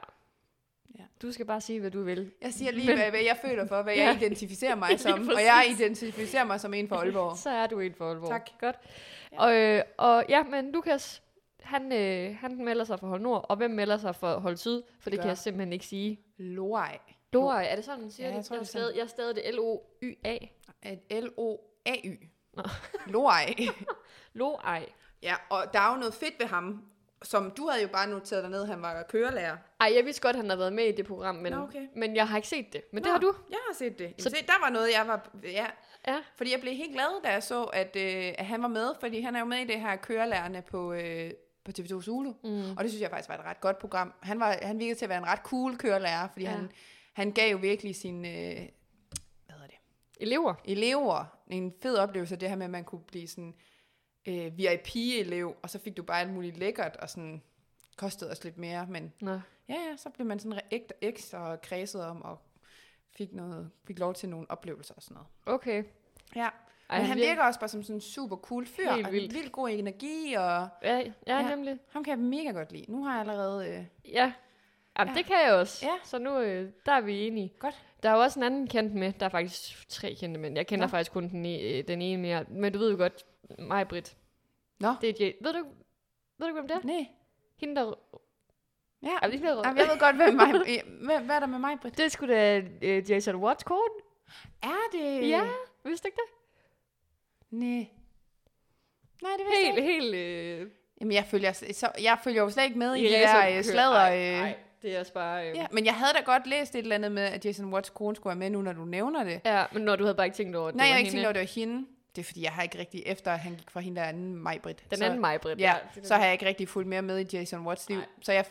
B: Ja.
A: Du skal bare sige, hvad du vil.
B: Jeg siger lige,
A: Men-
B: hvad, hvad jeg føler for, hvad
A: Ja.
B: jeg identificerer mig
A: Lige
B: som. Og
A: præcis.
B: jeg identificerer mig som en fra Aalborg.
A: Så er du en for alvor.
B: Tak.
A: Godt. Ja.
B: Ja.
A: Og, øh, og ja, men Lukas, han, øh, han melder sig for Hold Nord, og hvem melder sig for Hold Syd? For det, det
B: gør
A: kan jeg simpelthen ikke sige.
B: Loaj.
A: Lorøj, er det sådan, man siger
B: Ja,
A: det?
B: jeg tror,
A: jeg,
B: det
A: er
B: er
A: stadig, jeg er stadig det L-O-Y-A.
B: Et L-O-A-Y.
A: Nå.
B: Loaj.
A: Loaj.
B: Ja, og der er jo noget fedt ved ham, som du havde jo bare noteret dig ned, han var kørelærer.
A: Ej, jeg vidste godt, han har været med i det program, men,
B: Nå, okay.
A: men jeg har ikke set det. Men det
B: Nå,
A: har du.
B: Jeg har set det. Jamen,
A: Så-
B: så... se, der var noget, jeg var... Ja,
A: Ja.
B: fordi jeg blev helt glad, da jeg så, at, øh, at han var med, fordi han er jo med i det her kørelærerne på, øh, på TV2 Zulu.
A: Mm.
B: Og det synes jeg faktisk var et ret godt program. Han, var, han virkede til at være en ret cool kørelærer, fordi
A: Ja.
B: ja. han, han gav jo virkelig sine øh, hvad hedder det,
A: Elever.
B: elever en fed oplevelse af det her med, at man kunne blive sådan øh, VIP-elev, og så fik du bare alt muligt lækkert, og sådan kostede os lidt mere, men
A: Nå.
B: ja, ja, så blev man sådan re- ægte ekstra kredset om, og fik, noget, fik lov til nogle oplevelser og sådan noget.
A: Okay.
B: Ja, men han virker også bare som sådan en super cool fyr,
A: Helt
B: og
A: vildt.
B: en vild god energi, og
A: Ja, ja, ja,
B: Ja.
A: nemlig.
B: ham kan jeg mega godt lide. Nu har jeg allerede... Øh,
A: Ja. Jamen,
B: Ja.
A: det kan jeg også.
B: Ja.
A: Så nu, øh, der er vi enige.
B: Godt.
A: Der er jo også en anden kendt med. Der er faktisk tre kendte mænd. Jeg kender
B: Nå.
A: faktisk kun den, e, øh, den ene mere. Men du ved jo godt, mig Britt.
B: Nå.
A: Det er Jay. Ved du, ved du, hvem det er?
B: nej.
A: Hende, der...
B: Ja,
A: Ja, hende, der
B: Jamen, jeg ved godt, hvad, mig, hvad, hvad er der med mig, Britt?
A: Det er sgu da øh, Jason Watts kone.
B: Er det?
A: Øh, Ja. Vidste du ikke det?
B: Nej. Nej, det vidste jeg
A: Helt, helt...
B: ikke.
A: Øh,
B: Jamen, jeg følger, så, jeg følger jo slet ikke med i det
A: racerkø-
B: der øh, sladder.
A: Ej,
B: øh.
A: ej, det er også bare... Øh,
B: Ja, men jeg havde da godt læst et eller andet med, at Jason Watts kone skulle være med nu, når du nævner det.
A: ja. men når du havde bare ikke tænkt over, at det
B: Nej,
A: var
B: jeg har ikke
A: hende.
B: tænkt over, at det var hende. Det er fordi, jeg har ikke rigtig, efter at han gik fra hende der anden Majbrit.
A: Den anden mig, Britt.
B: Ja, så har jeg ikke rigtig fulgt mere med i Jason Watts liv.
A: Nej.
B: Så jeg,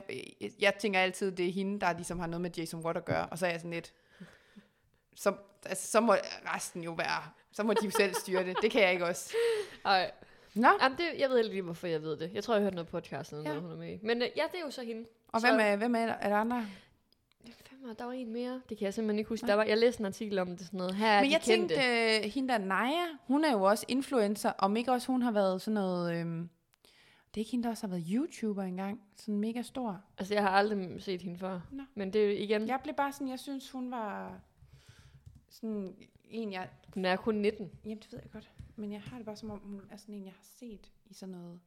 B: jeg tænker altid, det er hende, der ligesom har noget med Jason Watt at gøre. Og så er jeg sådan lidt... Så, altså, så må resten jo være... Så må de jo selv styre det. Det kan jeg ikke også.
A: Ej.
B: Nå,
A: Jamen, det, jeg ved ikke lige, hvorfor jeg ved det. Jeg tror, jeg hørte noget podcast eller
B: Ja.
A: noget, hun er med i. Men øh, ja, det er jo så hende.
B: og
A: så-
B: hvem er, hvem er, der, er der andre?
A: Hvem var der var en mere? Det kan jeg simpelthen ikke huske. Der var, jeg læste en artikel om det sådan noget. Her er
B: Men
A: de
B: jeg
A: kendte.
B: tænkte, øh, hende der Naja, hun er jo også influencer. Om ikke også hun har været sådan noget... Øhm, det er ikke hende, der også har været YouTuber engang. Sådan mega stor.
A: Altså, jeg har aldrig set hende før.
B: Nå.
A: Mm. Men det er jo igen...
B: Jeg blev bare sådan, jeg synes, hun var sådan en, jeg...
A: Hun er kun 19.
B: Jamen, det ved jeg godt. Men jeg har det bare som om, hun er sådan en, jeg har set i sådan noget.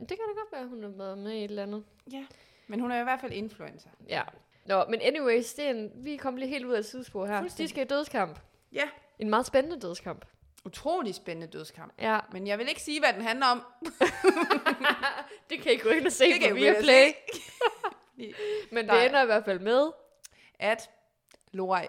A: Det kan da godt være, hun har været med i et eller andet.
B: Ja. Men hun er i hvert fald influencer.
A: Ja. Nå, men anyways, det er en, vi kom lige helt ud af et sidespor her. De
B: Fuldstændig.
A: skal i dødskamp.
B: Ja.
A: En meget spændende dødskamp.
B: Utrolig spændende dødskamp.
A: Ja,
B: Men jeg vil ikke sige, hvad den handler om.
A: det kan I gå ind og se på
B: I gå ind og
A: Viaplay.
B: se.
A: Men det
B: Nej.
A: ender i hvert fald med.
B: At Lorej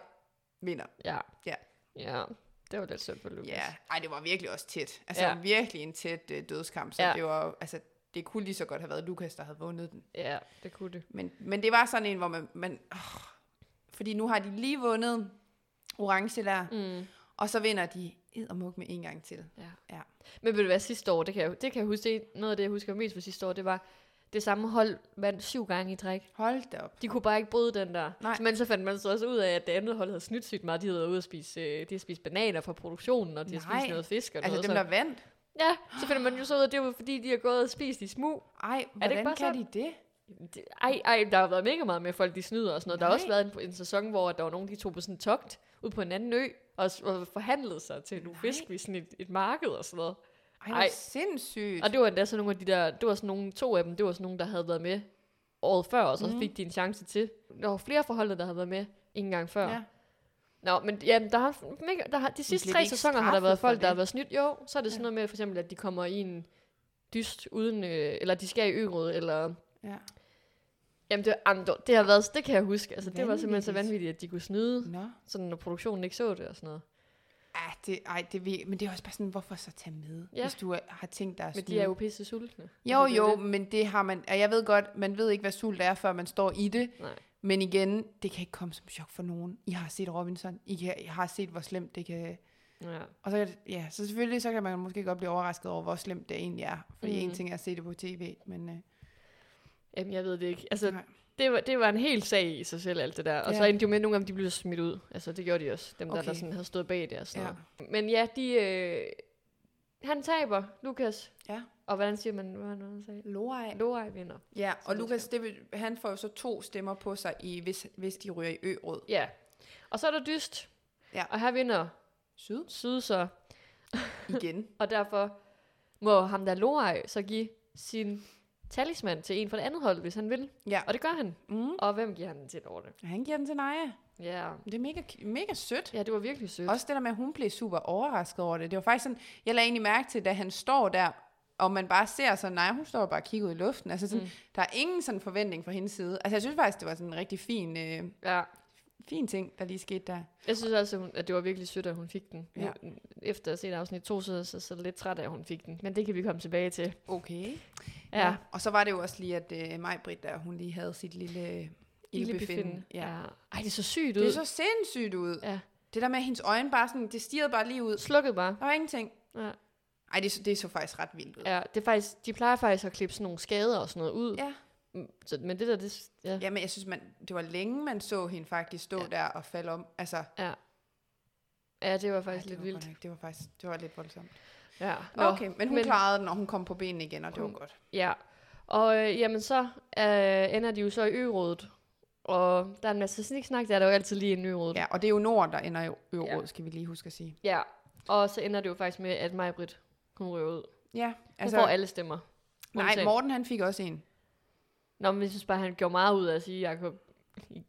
B: vinder.
A: Ja.
B: Ja.
A: Ja, det var lidt synd for Lukas.
B: Ja, ej, det var virkelig også tæt. Altså
A: Ja.
B: ja. virkelig en tæt øh, dødskamp, så
A: Ja.
B: ja. det var jo- altså det kunne lige så godt have været Lukas, der havde vundet den.
A: ja, det kunne det.
B: Men, men det var sådan en, hvor man, man åh, fordi nu har de lige vundet orange der,
A: Mm.
B: og så vinder de eddermuk med en gang til.
A: Ja.
B: Ja.
A: Men ved du hvad, sidste år, det kan jeg, det kan jeg huske, det er noget af det, jeg husker mest fra sidste år, det var, det samme hold vandt syv gange i træk.
B: Hold da op.
A: De kunne bare ikke bryde den der.
B: Nej.
A: Men så fandt man så også ud af, at det andet hold havde snydt sygt meget. De havde været ude at spise, øh, de havde spist bananer fra produktionen, og de havde
B: Nej.
A: spist noget fisk og
B: Altså
A: noget.
B: dem, der vandt.
A: så. Ja, så finder man jo så ud af, at det var fordi, de har gået og spist i smug.
B: Ej, hvordan
A: bare
B: kan
A: sådan?
B: de det?
A: Det- Ej, ej, der har været mega meget med at folk, de snyder og sådan noget. Der har
B: Nej.
A: også været en, en sæson, hvor der var nogen, de tog på sådan en togt ud på en anden ø, og, s- og forhandlede sig til nogle
B: Nej.
A: fisk ved sådan et, et marked og sådan noget.
B: Ej, hvor
A: Ej.
B: sindssygt.
A: Og det var endda sådan nogle af de der, det var sådan nogle, to af dem, det var sådan nogle, der havde været med året før, og så mm.
B: Mhm.
A: fik de en chance til. Der var flere forhold, der havde været med en gang før. Ja.
B: Ja.
A: Nå, men ja, der har, mega, der har, de sidste
B: bliver
A: tre
B: de ikke
A: sæsoner har der været
B: straffet for
A: folk, der
B: det?
A: har været snydt. Jo, så er det sådan
B: Ja.
A: noget med, for eksempel, at de kommer i en dyst uden, øh, eller de skal i øråd, eller...
B: ja.
A: Jamen, det, jamen, det- det har været, det kan jeg huske. Altså, det var simpelthen så
B: Vanvittigt.
A: vanvittigt, at de kunne snyde,
B: Nå.
A: sådan når produktionen ikke så det og sådan noget.
B: Ja, det, ej, det ved, men det er også bare sådan, hvorfor så tage med,
A: Ja.
B: ja. hvis du er- har tænkt dig at
A: Men de
B: snyde?
A: er jo pisse sultne.
B: Jo,
A: Altså, det er
B: jo,
A: det.
B: det. men det har man, og jeg ved godt, man ved ikke, hvad sult er, før man står i det,
A: Nej.
B: men igen, det kan ikke komme som chok for nogen. I har set Robinson, I, kan, I har set, hvor slemt det kan...
A: Ja.
B: Og så, kan det- ja, så selvfølgelig, så kan man måske godt blive overrasket over, hvor slemt det egentlig er, fordi
A: Mhm.
B: mm. en ting er at se det på tv, men... Øh,
A: Jamen, jeg ved det ikke. Altså,
B: nej.
A: det var, det var en hel sag i sig selv, alt det der. Og
B: Ja.
A: så endte jo med, at nogle af dem de blev smidt ud. Altså, det gjorde de også. Dem, okay. der,
B: Okay.
A: der sådan havde stået bag det og sådan
B: Ja.
A: noget. Men ja, de... Øh, han taber, Lukas.
B: Ja.
A: Og hvordan siger man, hvad var det, han sagde?
B: Lorej.
A: Lorej vinder.
B: Ja, og
A: Sådan
B: Lukas, det vil, han får jo så to stemmer på sig, i, hvis, hvis de ryger i ø-råd.
A: Ja. Og så er der dyst.
B: Ja.
A: Og her vinder
B: Syd.
A: Syd så.
B: Igen.
A: Og derfor må ham der Lorej så give sin talisman til en fra det andet hold, hvis han vil.
B: Ja.
A: Og det gør han.
B: Mm.
A: Og hvem giver han den til over det?
B: Og han giver den til Naja.
A: Ja.
B: Det er mega, mega sødt.
A: Ja, det var virkelig sødt.
B: Også det der med, at hun blev super overrasket over det. Det var faktisk sådan, jeg lagde egentlig mærke til, da han står der, og man bare ser sådan, nej, hun står og bare og kigger ud i luften. Altså sådan,
A: Mm.
B: mm. der er ingen sådan forventning fra hendes side. Altså jeg synes faktisk, det var sådan en rigtig fin, øh,
A: Ja.
B: fin ting, der lige skete der.
A: Jeg synes også, hun- at det var virkelig sødt, at hun fik den. Ja.
B: Ja.
A: Efter at se et afsnit to, så så, så lidt træt af, at hun fik den. Men det kan vi komme tilbage til.
B: Okay.
A: Ja.
B: Ja. ja. Og så var det jo også lige, at øh, Maj-Brit der, hun lige havde sit lille øh, ildbefinden.
A: Ja.
B: Ja.
A: ja. Ej, det så sygt ud.
B: Det så sindssygt ud.
A: Ja.
B: Det der med, at hendes øjne bare sådan, det stirrede bare lige ud.
A: Slukket bare.
B: Der var ingenting.
A: Ja.
B: Ej, det, så- det så faktisk ret vildt ud.
A: ja. det er faktisk, de plejer faktisk at klippe sådan nogle skader og sådan noget ud.
B: ja.
A: Mm, Så, men det der, det... Ja.
B: Jamen, jeg synes, man, det var længe, man så hende faktisk stå
A: Ja.
B: ja. der og falde om. Altså,
A: ja, det var
B: ej,
A: faktisk
B: det
A: lidt
B: var
A: vildt.
B: godt nok- Det var faktisk det var lidt voldsomt.
A: Ja.
B: Nå, okay, men hun
A: men-
B: men... klarede den, og hun kom på benene igen, og det var
A: Hun-
B: godt.
A: Ja. Og øh, jamen, så øh, ender de jo så i ørådet. Og der er en masse sniksnak, der er der jo altid lige en ny råd.
B: Ja, og det er jo Norden, der ender i ørådet,
A: Ja.
B: ja. skal vi lige huske at sige.
A: ja. Og så ender det jo faktisk med, at Majbrit, hun ryger ud.
B: Ja,
A: Hun
B: altså,
A: får alle stemmer.
B: nej,
A: Undtagen-
B: Morten han fik også en.
A: Nå, men jeg synes bare, han gjorde meget ud af at sige, Jacob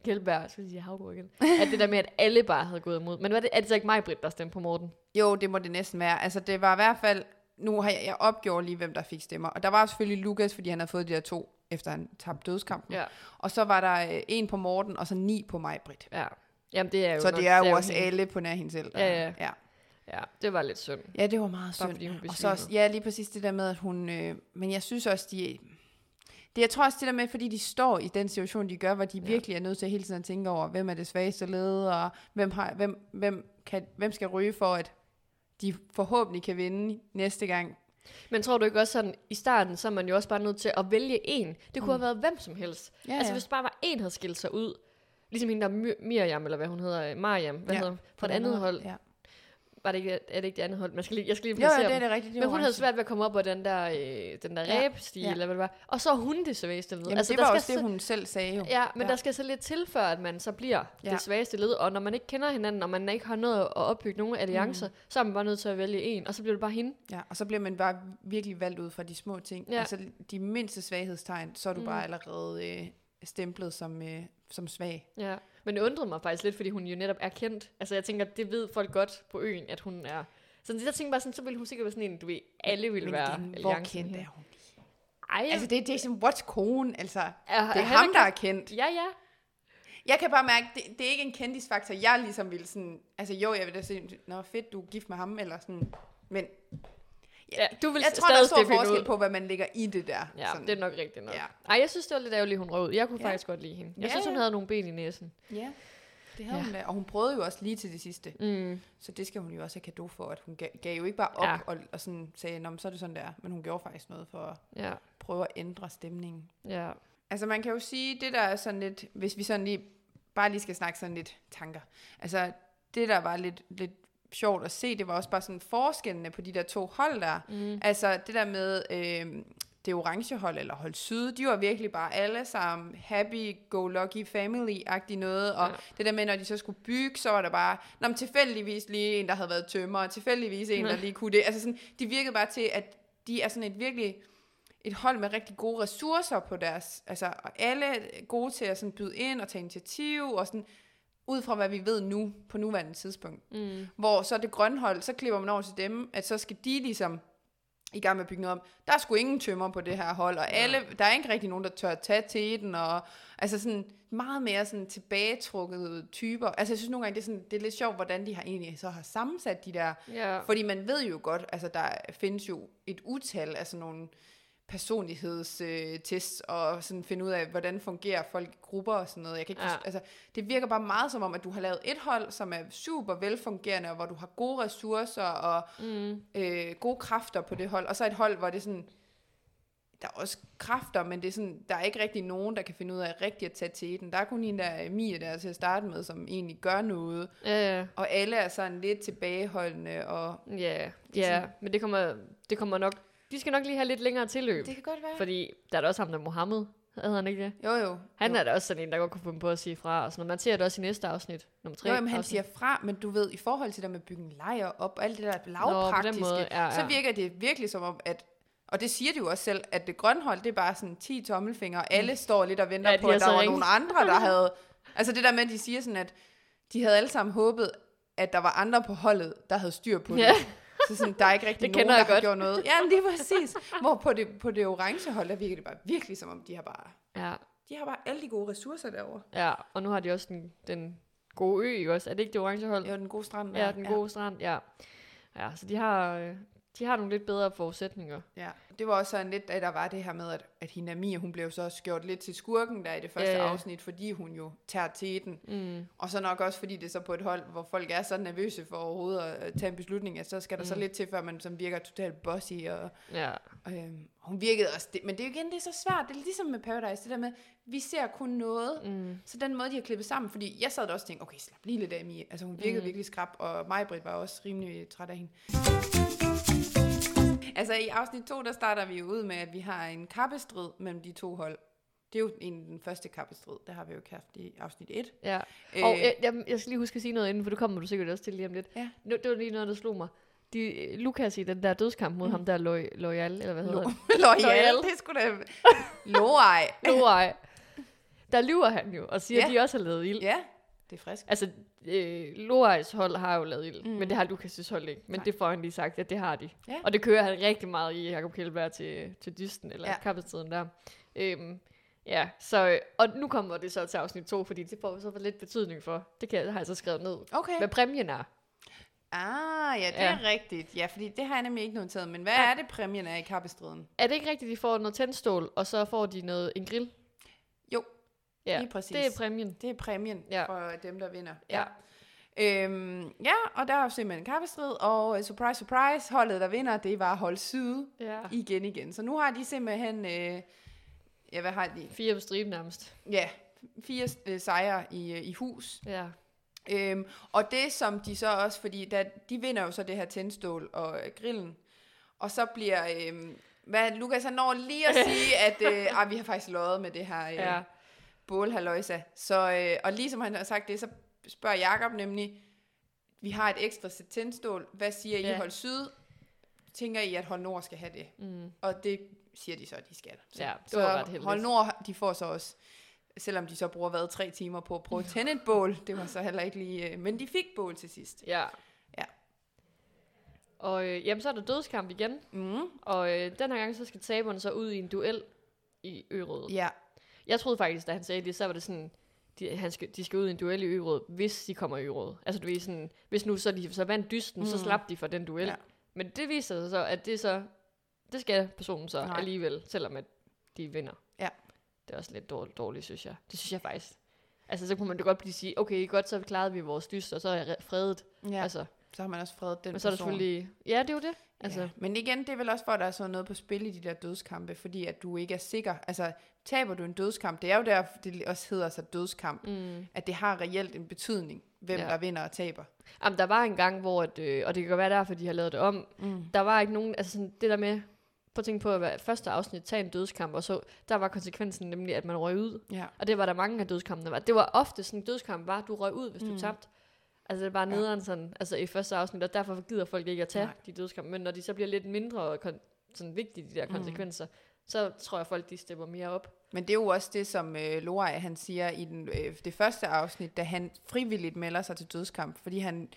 A: Kjeldberg, jeg skulle sige Havgård igen, at det der med, at alle bare havde gået imod. Men var det, er det så ikke mig, Britt, der stemte på Morten?
B: Jo, det må det næsten være. Altså, det var i hvert fald, nu har jeg, jeg opgjort lige, hvem der fik stemmer. Og der var selvfølgelig Lukas, fordi han havde fået de der to, efter han tabte dødskampen.
A: Ja.
B: Og så var der øh, en på Morten, og så ni på mig, Britt.
A: Ja. Jamen, det er jo
B: Så
A: nok,
B: det er jo også
A: hende.
B: alle på nær hende selv. der-
A: Ja, ja.
B: ja.
A: Ja, det var lidt synd.
B: Ja, det var meget
A: Bare
B: synd.
A: fordi hun
B: og så også,
A: besvimede.
B: ja, lige præcis det der med, at hun... Øh, men jeg synes også, de... Det, jeg tror også det der med, fordi de står i den situation, de gør, hvor de
A: Ja.
B: ja. virkelig er nødt til hele tiden at tænke over, hvem er det svageste led, og hvem, har, hvem, hvem, kan, hvem skal ryge for, at de forhåbentlig kan vinde næste gang.
A: Men tror du ikke også sådan, i starten, så er man jo også bare nødt til at vælge en. Det kunne mm. have været hvem som helst.
B: Ja,
A: altså, hvis bare var en, havde skilt sig ud, ligesom hende der Mi- Miriam, eller hvad hun hedder, øh, Mariam, hvad
B: Ja,
A: hedder hun? fra et andet hold,
B: Ja.
A: var det ikke, er det ikke det andet hold? Man skal lige, jeg skal lige
B: Jo,
A: placere
B: jo, det
A: dem.
B: er det rigtigt. Det er
A: Men hun havde
B: orange.
A: svært ved at komme op på den der, øh, den der
B: Ja.
A: ræbstil,
B: Ja.
A: eller hvad det var. Og så er hun det svageste led.
B: Jamen, altså, det var også
A: skal
B: det,
A: så,
B: hun selv sagde jo.
A: Ja, men
B: Ja.
A: der skal så lidt til, før at man så bliver
B: Ja.
A: ja. det svageste led. Og når man ikke kender hinanden, og man ikke har noget at opbygge nogen alliancer, mm. så er man bare nødt til at vælge en, og så bliver det bare hende.
B: Ja, og så bliver man bare virkelig valgt ud fra de små ting. Ja.
A: Ja.
B: Altså de mindste svaghedstegn, så er du mm.
A: Mm.
B: bare allerede øh, stemplet som, øh, som svag.
A: Ja. Men det undrede mig faktisk lidt, fordi hun jo netop er kendt. Altså jeg tænker, det ved folk godt på øen, at hun er... Så jeg tænkte bare sådan, så ville hun sikkert være sådan en, du ved, alle ville
B: Men
A: være
B: igen, hvor
A: alliancen
B: kendt
A: her.
B: er hun?
A: Ej,
B: Altså det er Jason Watts kone, altså.
A: er,
B: Det er
A: han
B: ham, der er kendt.
A: Ja, ja.
B: Jeg kan bare mærke, det, det er ikke en kendisfaktor. Jeg ligesom ville sådan, altså jo, jeg vil da sige, nå fedt, du er gift med ham, eller sådan. Men
A: ja du vil
B: jeg tror, der
A: stadig
B: er stor
A: stikke hende
B: forskel
A: ud.
B: på, hvad man lægger i det der.
A: Ja, sådan. det er nok rigtigt nok.
B: Ja.
A: Ja. Ej, jeg synes, det var lidt ærgerligt, hun rød. Jeg kunne
B: Ja.
A: ja. faktisk godt lide hende. Jeg
B: Ja,
A: synes, hun
B: ja.
A: havde nogle ben i næsen.
B: ja. Det
A: Ja.
B: havde ja. hun da. Og hun prøvede jo også lige til det sidste.
A: Mm.
B: Så det skal hun jo også have kado for, at hun gav, gav jo ikke bare op ja.
A: Ja.
B: og, og sådan sagde, Nå, men så er det sådan, der. Men hun gjorde faktisk noget for at
A: Ja,
B: prøve at ændre stemningen.
A: ja.
B: Altså man kan jo sige, det der er sådan lidt, hvis vi sådan lige, bare lige skal snakke sådan lidt tanker. Altså det der var lidt, lidt sjovt at se, det var også bare sådan forskellene på de der to hold der. Mm. Altså det der med øh, det orange hold, eller hold syd, de var virkelig bare alle sammen happy-go-lucky family-agtig noget, og ja.
A: Ja.
B: det der med, når de så skulle bygge, så var der bare, nå, men tilfældigvis lige en, der havde været tømmer, og tilfældigvis en, der lige kunne det. Altså sådan, de virkede bare til, at de er sådan et virkelig et hold med rigtig gode ressourcer på deres, altså og alle er gode til at sådan byde ind og tage initiativ og sådan ud fra hvad vi ved nu på nuværende tidspunkt. Mm. Hvor så det grønne hold, så klipper man over til dem, at så skal de ligesom i gang med at bygge noget om. Der er sgu ingen tømmer på det her hold, og alle, der er ikke rigtig nogen, der tør at tage til den, og altså sådan meget mere sådan tilbagetrukket typer. Altså jeg synes nogle gange, det er, sådan, det er lidt sjovt, hvordan de har egentlig så har sammensat de der
A: ja.
B: fordi man ved jo godt, altså der findes jo et utal af sådan nogle personlighedstests, øh, tests og sådan finde ud af, hvordan fungerer folk i grupper og sådan noget. Jeg kan ikke
A: Ja.
B: ja. altså, det virker bare meget som om, at du har lavet et hold, som er super velfungerende, og hvor du har gode ressourcer og mm. øh, gode kræfter på det hold, og så et hold, hvor det er sådan, der er også kræfter, men det er sådan, der er ikke rigtig nogen, der kan finde ud af rigtigt at tage til den. Der er kun en der øh, Mie der til at starte med, som egentlig gør noget,
A: Ja, ja.
B: og alle er sådan lidt tilbageholdende og
A: Ja, ja. Men det kommer, det kommer nok... De skal nok lige have lidt længere tilløb.
B: Det kan godt være.
A: Fordi der er da også ham der Mohammed. Hedder han ikke det?
B: Jo, jo.
A: Han
B: jo.
A: er da også sådan en, der godt kunne finde på at sige fra. Og sådan, noget. man ser det også i næste afsnit. Nummer tre.
B: Jo, jamen, han
A: afsnit.
B: siger fra, men du ved, i forhold til det med at bygge en lejr op, og alt det der lavpraktiske,
A: måde, ja, ja.
B: så virker det virkelig som om, at og det siger de jo også selv, at det grønne hold, det er bare sådan 10 tommelfingre, og alle står lidt og venter
A: Mm. Ja,
B: ja,
A: de
B: på,
A: har
B: at der
A: så
B: var
A: ringet.
B: nogle andre, der havde... Altså det der med, at de siger sådan, at de havde alle sammen håbet, at der var andre på holdet, der havde styr på det.
A: Ja.
B: Så sådan, der er ikke rigtig
A: Det
B: nogen,
A: kender
B: der
A: jeg
B: har
A: godt.
B: gjort noget. Ja, men lige præcis. Hvor på det, på det orange hold, der virker det bare virkelig som om, de har bare,
A: Ja,
B: de har bare alle de gode ressourcer derovre.
A: ja. Og nu har de også den, den gode ø, ikke også? Er det ikke det orange hold?
B: Jo, den gode strand.
A: Ja,
B: der.
A: den gode ja. strand, ja. Ja, så de har, øh, de har nogle lidt bedre forudsætninger.
B: Ja, det var også sådan lidt, at der var det her med, at, at hende Amir, hun blev jo så også gjort lidt til skurken der i det første
A: Ja, ja.
B: afsnit, fordi hun jo tager til den.
A: Mm.
B: Og så nok også, fordi det er så på et hold, hvor folk er så nervøse for overhovedet at øh, tage en beslutning, at så skal der mm. så lidt til, før man som virker totalt bossy. Og,
A: Ja,
B: og, øhm, hun virkede også det. Men det er jo igen, det er så svært. Det er ligesom med Paradise, det der med, vi ser kun noget. Mm. Så den måde, de har klippet sammen, fordi jeg sad da også og tænkte, okay, slap lige lidt af, Mie. Altså hun virkede mm. virkelig skrab, og Majbrit var også rimelig træt af hende. Altså i afsnit 2, der starter vi jo ud med, at vi har en kappestrid mellem de to hold. Det er jo en, den første kappestrid, det har vi jo ikke haft i afsnit 1.
A: ja.
B: Øh,
A: Og jeg, jeg, jeg skal lige huske at sige noget inden, for det kommer du sikkert også til lige om lidt.
B: Ja.
A: Nu, det var lige noget, der slog mig. De, øh, Lukas i den der dødskamp mod mm. ham der Loy, Loyal, eller hvad hedder han?
B: Loyal,
A: Loyal.
B: det skulle da... Loej.
A: Loy. Der lyver han jo, og siger,
B: Ja.
A: at de også har lavet ild.
B: Ja, det er frisk.
A: Altså, øh, Loais hold har jo lavet ild, mm. men det har Lukas' hold ikke. Men
B: Nej.
A: Nej. det får han lige sagt, at det har de.
B: Ja.
A: Og det kører han rigtig meget i Jacob Kjellberg til, til dysten, eller
B: Ja.
A: ja. kappestiden der. Øhm, ja, så, øh, og nu kommer det så til afsnit 2, fordi det får så lidt betydning for. Det kan, har jeg så skrevet ned.
B: Okay.
A: Hvad præmien er.
B: Ah, ja, det
A: Ja.
B: er rigtigt. Ja, fordi det har jeg nemlig ikke noteret. Men hvad er det, præmien er i kappestriden?
A: Er det ikke rigtigt, at de får noget tændstål, og så får de noget, en grill?
B: Jo,
A: Ja,
B: Lige præcis.
A: det er præmien.
B: det er præmien ja.
A: Ja.
B: for dem, der vinder.
A: Ja.
B: Øhm, ja, og der er jo simpelthen kappestrid, og øh, surprise, surprise, holdet, der vinder, det var hold syd
A: ja.
B: igen igen. Så nu har de simpelthen, øh, ja, hvad har de?
A: Fire på striben nærmest.
B: Ja, fire øh, sejre i, øh, i hus.
A: Ja.
B: Øhm, og det som de så også, fordi da, de vinder jo så det her tændstål og øh, grillen, og så bliver, øhm, hvad, Lukas han når lige at sige, at øh, ah, vi har faktisk løjet med det her øh, ja.
A: Ja.
B: bålhaløjsa. Så, øh, og ligesom han har sagt det, så spørger Jakob nemlig, vi har et ekstra sæt tændstål, hvad siger I ja.
A: Ja.
B: hold syd? Tænker I, at hold nord skal have det?
A: Mm.
B: Og det siger de så, at de skal. Så,
A: Ja, det var ret heldigt.
B: Hold Nord, de får så også, selvom de så bruger hvad, tre timer på at prøve at tænde et bål, det var så heller ikke lige, øh, men de fik bål til sidst.
A: Ja.
B: Ja.
A: Og øh, jamen, så er der dødskamp igen,
B: Mm.
A: og øh, den her gang så skal taberne så ud i en duel i Ørød.
B: Ja,
A: Jeg troede faktisk, da han sagde det, så var det sådan, de, han skal, de skal ud i en duel i Øråd, hvis de kommer i Øråd. Altså du ved sådan, hvis nu så de så vandt dysten, mm. så
B: Mm.
A: slap de for den duel.
B: Ja.
A: Ja. Men det viser sig så, at det så, det skal personen så
B: Nej.
A: Nej. alligevel, selvom at de vinder.
B: Ja.
A: Det er også lidt dårligt, dårligt, synes jeg. Det synes jeg faktisk. Altså så kunne man da godt blive sige, okay, godt, så klarede vi vores dyst, og så er jeg re- fredet. Ja.
B: ja. Altså,
A: Altså,
B: så har man også fredet den
A: men så er der
B: person.
A: selvfølgelig, ja, det er jo det. Altså,
B: ja. Men igen, det er vel også for, at der er sådan noget på spil i de der dødskampe, fordi at du ikke er sikker. Altså, taber du en dødskamp, det er jo der, det også hedder sig dødskamp,
A: mm.
B: at det har reelt en betydning, hvem ja.
A: Ja.
B: der vinder og taber.
A: Jamen, der var en gang, hvor, at, øh, og det kan godt være derfor, de har lavet det om,
B: Mm.
A: der var ikke nogen, altså sådan, det der med, prøv at tænke på, at hver- første afsnit, tage en dødskamp, og så, der var konsekvensen nemlig, at man røg ud.
B: Ja.
A: Og det var der mange af dødskampene var. Det var ofte sådan, dødskamp var, du røg ud, hvis mm.
B: Mm.
A: du tabte. Altså det var
B: Ja.
A: nederen sådan, altså i første afsnit, og derfor gider folk ikke at tage
B: Nej.
A: Nej. de dødskampe, men når de så bliver lidt mindre kon- sådan vigtige, de der
B: Mm.
A: konsekvenser, så tror jeg, folk de stepper mere op.
B: Men det er jo også det, som øh, Lorej, han siger i den, øh, det første afsnit, da han frivilligt melder sig til dødskamp, fordi han,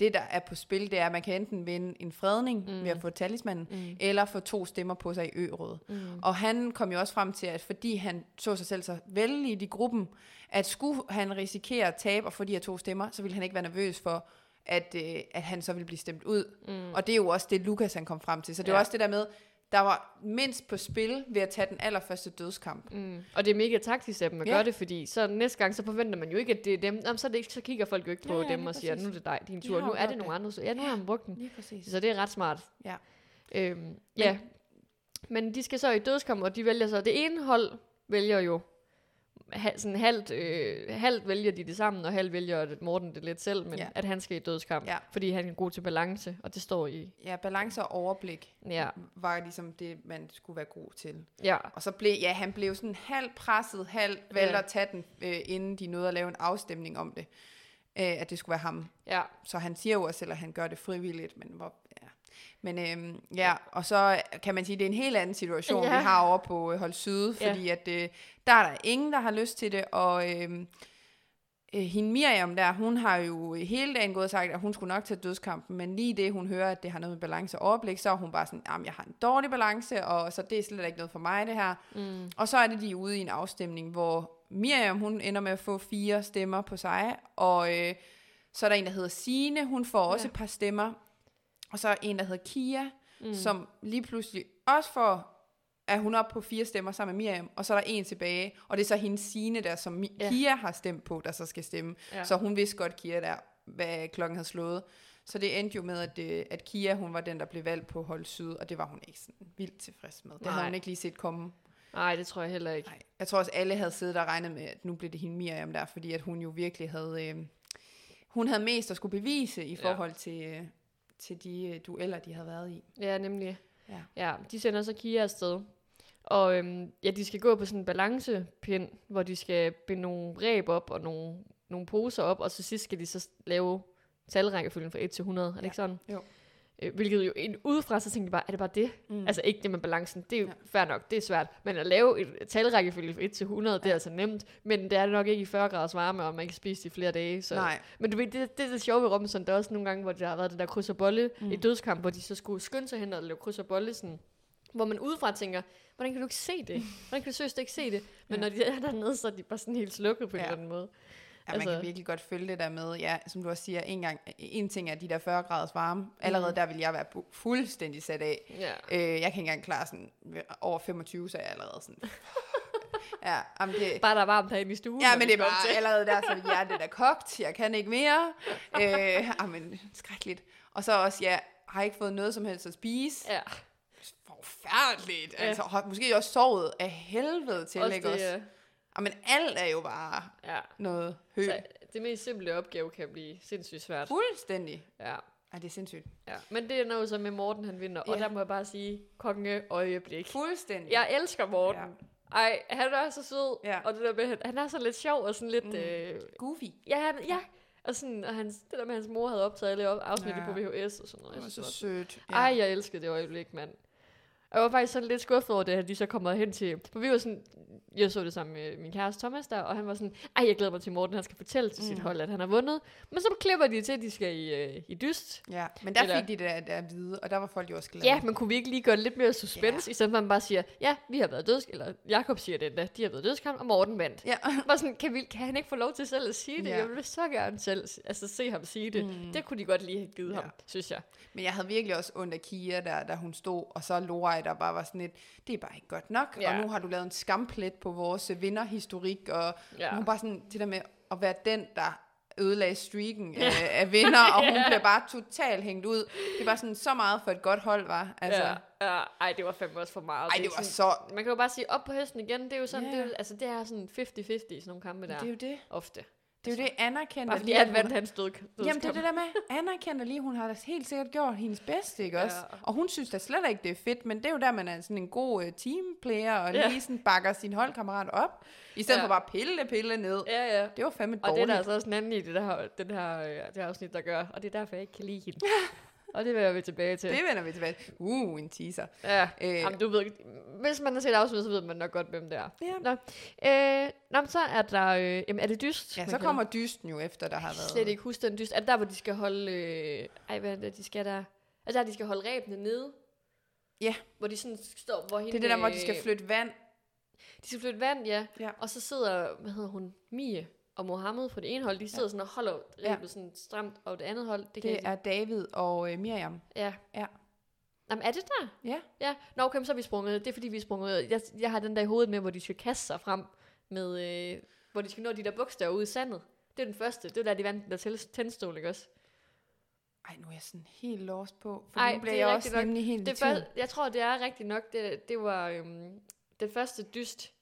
B: det, der er på spil, det er, at man kan enten vinde en fredning mm.
A: Mm.
B: ved at få talismanden,
A: Mm.
B: eller få to stemmer på sig i ørådet.
A: Mm.
B: Og han kom jo også frem til, at fordi han så sig selv så vældig i gruppen, at skulle han risikere at tabe og få de her to stemmer, så ville han ikke være nervøs for, at, øh, at han så ville blive stemt ud. Mm. Og det er jo også det, Lukas han kom frem til. Så det er ja.
A: Ja.
B: også det der med, der var mindst på spil ved at tage den allerførste dødskamp.
A: Mm. Og det er mega taktisk af dem at
B: Ja.
A: gøre det, fordi så næste gang, så forventer man jo ikke, at det er dem. Jamen, så, er det ikke, så kigger folk jo ikke på
B: Ja, ja,
A: dem
B: lige
A: og siger,
B: præcis.
A: nu er det dig, din
B: De
A: tur,
B: har
A: nu
B: jo
A: er
B: gjort
A: det nogle andre. Ja, nu
B: Ja.
A: har han brugt den.
B: Lige præcis.
A: Så det er ret smart.
B: Ja.
A: Øhm, ja. Men de skal så i dødskamp, og de vælger så... Det ene hold vælger jo... Ha, sådan halvt, øh, halvt vælger de det sammen, og halvt vælger at Morten det lidt selv, men
B: Ja.
A: ja. at han skal i dødskamp,
B: Ja.
A: fordi han er god til balance, og det står i...
B: Ja, balance og overblik
A: Ja,
B: var ligesom det, man skulle være god til.
A: ja,
B: Og så blev, ja, han blev sådan halv presset, halv valgte
A: Ja.
B: at tage den, øh, inden de nåede at lave en afstemning om det. Øh, at det skulle være ham.
A: ja.
B: Så han siger jo også selv, at han gør det frivilligt, men hvor... Ja. Men øhm, ja, og så kan man sige, at det er en helt anden situation, ja.
A: Ja.
B: vi har over på øh, Hold Syd,
A: Ja.
B: fordi at, øh, der er der ingen, der har lyst til det, og øhm, øh, hende Miriam der, hun har jo hele dagen gået og sagt, at hun skulle nok tage dødskampen, men lige det, hun hører, at det har noget med balance og overblik, så er hun bare sådan, at jeg har en dårlig balance, og så det er slet ikke noget for mig, det her.
A: Mm.
B: Og så er det de er ude i en afstemning, hvor Miriam hun ender med at få fire stemmer på sig, og øh, så er der en, der hedder Sine, hun får også
A: Ja.
B: et par stemmer. Og så er en, der hedder Kia, mm.
A: Mm.
B: som lige pludselig også får, at hun er oppe på fire stemmer sammen med Miriam, og så er der en tilbage, og det er så hendes Sine der, som Mi-
A: Ja.
B: Kia har stemt på, der så skal stemme.
A: Ja.
B: Så hun vidste godt, Kia der, hvad klokken havde slået. Så det endte jo med, at, øh, at Kia, hun var den, der blev valgt på hold syd, og det var hun ikke sådan vildt tilfreds med. Det Nej. havde
A: Nej.
B: hun ikke lige set komme.
A: Nej, det tror jeg heller ikke.
B: Nej. Jeg tror også, alle havde siddet og regnet med, at nu blev det hende Miriam der, fordi at hun jo virkelig havde... Øh, hun havde mest at skulle bevise i
A: Ja.
B: forhold ja. til, øh, til de øh, dueller, de havde været i.
A: Ja, nemlig.
B: Ja.
A: ja de sender så Kia afsted. Og øhm, ja, de skal gå på sådan en balancepind, hvor de skal binde nogle ræb op og nogle, nogle poser op, og så sidst skal de så lave talrækkefølgen fra 1 til 100. Er det
B: Ja.
A: ikke sådan?
B: Jo.
A: Øh, hvilket jo ind- udefra, så tænkte jeg bare, er det bare det?
B: Mm.
A: Mm. Altså ikke det med balancen, det er jo
B: Ja.
A: ja. fair nok, det er svært. Men at lave et talrækkefølge fra 1 til 100, det er altså nemt. Men det er det nok ikke i 40 graders varme, og man kan spise det i flere dage. Så.
B: Nej.
A: Men du ved, det, det er det sjove ved Robinson, der er også nogle gange, hvor der har været det der kryds og bolle
B: Mm.
A: mm. i dødskamp, hvor de så skulle skynde sig hen og lave kryds og bolle, sådan, hvor man udefra tænker, hvordan kan du ikke se det? Hvordan kan du seriøst ikke se det? Men når
B: Ja.
A: de er dernede, så er de bare sådan helt slukket på
B: Ja.
A: en eller anden måde.
B: Ja, man altså,
A: altså-
B: kan virkelig godt følge det der med, ja, som du også siger, en, gang, en ting er de der 40 graders varme. Allerede mm. der ville jeg være bu- fuldstændig sat af.
A: Ja.
B: Øh, jeg kan ikke engang klare sådan, over 25, så er jeg allerede sådan... ja, jamen det,
A: Bare der er varmt herinde i stuen.
B: Ja,
A: når
B: men
A: vi
B: det Uh, er
A: kommer
B: bare
A: til.
B: allerede der, så er hjertet er kogt, jeg kan ikke mere. Øh, amen, skrækkeligt. Og så også, jeg har ikke fået noget som helst at spise.
A: Ja,
B: Forfærdeligt.
A: Ja.
B: Altså, har måske også sovet af helvede til,
A: også
B: ikke også? Ah,
A: det, øh,
B: Amen, alt er jo bare
A: ja.
B: noget hø.
A: Så det mest simple opgave kan blive sindssygt svært.
B: Fuldstændig.
A: Ja,
B: Ej, det er sindssygt.
A: ja. Men det er noget, som med Morten han vinder. Og
B: Ja.
A: der må jeg bare sige, konge øjeblik.
B: Fuldstændig.
A: Jeg elsker Morten.
B: Ja.
A: Ja. Ej, han er så sød.
B: Ja.
A: Ja. Og det der med, han- han er så lidt sjov og sådan lidt...
B: Mm.
A: Mm. Øh,
B: Goofy.
A: ja, han, ja. Og, sådan, og hans, det der med, at hans mor havde optaget alle op- afsnittet
B: Ja.
A: ja. på VHS og sådan noget.
B: Det
A: Jeg
B: var
A: synes,
B: så
A: det var
B: sødt.
A: Ja. Ej, jeg elskede det øjeblik, mand. Jeg var faktisk sådan lidt skuffet over det, at de så kommer hen til... For vi var sådan... Jeg så det sammen med min kæreste Thomas der, og han var sådan... Ej, jeg glæder mig til Morten, han skal fortælle til mm. sit
B: Mm.
A: hold, at han har vundet. Men så klipper de til, at de skal i, øh, i dyst.
B: Ja, men der
A: Eller-
B: fik de det at, at vide, og der var folk jo også glade.
A: Ja, men kunne vi ikke lige gøre det lidt mere suspense, i stedet for at man bare siger, ja, vi har været døds... Eller Jakob siger det endda, de har været dødskamp, og Morten vandt.
B: ja.
A: Var sådan, kan, vi, kan han ikke få lov til selv at sige det? Ja.
B: Ja.
A: Jeg vil så gerne selv altså, se ham sige det.
B: Mm.
A: Mm. Det kunne de godt lige have givet
B: Ja.
A: ja. ham, synes jeg.
B: Men jeg havde virkelig også ondt af Kia, der, da hun stod, og så Lorej, der bare var sådan lidt, det er bare ikke godt nok, ja. og
A: Ja.
B: nu har du lavet en skamplet på vores øh, vinderhistorik, og ja.
A: Ja.
B: hun bare sådan, det der med at være den, der ødelagde streaken ja. øh, af vinder, og hun
A: Ja.
B: bliver bare totalt hængt ud. Det var sådan så meget for et godt hold, var. Altså, ja.
A: Ja, ja. Ej, det var fandme også for meget.
B: Ej,
A: er
B: det var
A: sådan,
B: så...
A: Man kan jo bare sige, op på hesten igen, det er jo sådan,
B: Ja.
A: det, er, jo- altså, det er sådan 50-50 i sådan nogle kampe der,
B: Det er jo det.
A: ofte.
B: Det er jo det anerkendt.
A: Bare fordi han vandt hans død.
B: Jamen, det er det der med, anerkender lige, hun har da helt sikkert gjort hendes bedste, ikke
A: Ja.
B: også? Og hun synes da slet ikke, det er fedt, men det er jo der, man er sådan en god uh, teamplayer, og
A: Ja.
B: lige sådan bakker sin holdkammerat op, i stedet ja.
A: Ja.
B: for bare at pille, pille ned. Ja.
A: Ja, ja.
B: Det var fandme
A: Og det er
B: dårligt.
A: der altså også en anden i det her, den her, øh, det her afsnit, der gør, og det er derfor, jeg ikke kan lide hende. og det vender vi tilbage til.
B: det vender vi tilbage. til. Uh, en teaser.
A: Ja,
B: Øh.
A: øh. Jamen, du ved, ikke- hvis man har set afsnittet, så ved man nok godt, hvem det er.
B: Ja.
A: Nå, øh, nå men så er der, øh, jamen, er det dyst?
B: Ja,
A: man
B: så
A: kalder
B: kommer dysten jo efter, der har
A: Jeg kan
B: været...
A: slet ikke huske den dyst. Er det der, hvor de skal holde... Øh, ej, hvad er det, de skal der? Er det der, de skal holde ræbene nede?
B: Ja.
A: Hvor de sådan står... Hvor
B: Det er det der, hvor de
A: øh,
B: skal flytte vand.
A: flytte. De skal flytte vand, ja.
B: Ja.
A: Og så sidder, hvad hedder hun, Mie og Mohammed på det ene hold. De sidder ja. sådan og holder ræbet ja. sådan stramt, og det andet hold... Det, kan jeg
B: Det er David og øh, Miriam.
A: ikke- Ja.
B: Ja.
A: Jamen, er det der?
B: Ja.
A: Ja. Nå, okay, men så er vi sprunget. Det er fordi, vi er sprunget. Jeg, jeg har den der i hovedet med, hvor de skal kaste sig frem med... Øh, hvor de skal nå de der bogstaver ud i sandet. Det er den første. Det er der, de vandt den der tæl- tændstol, ikke også?
B: Ej, nu er jeg sådan helt lost på, for
A: Ej,
B: nu bliver
A: det er
B: jeg også
A: rigtigt nok.
B: nemlig
A: Det
B: helt det
A: første, jeg tror, det er rigtigt nok. Det, det var øhm, det første dyst.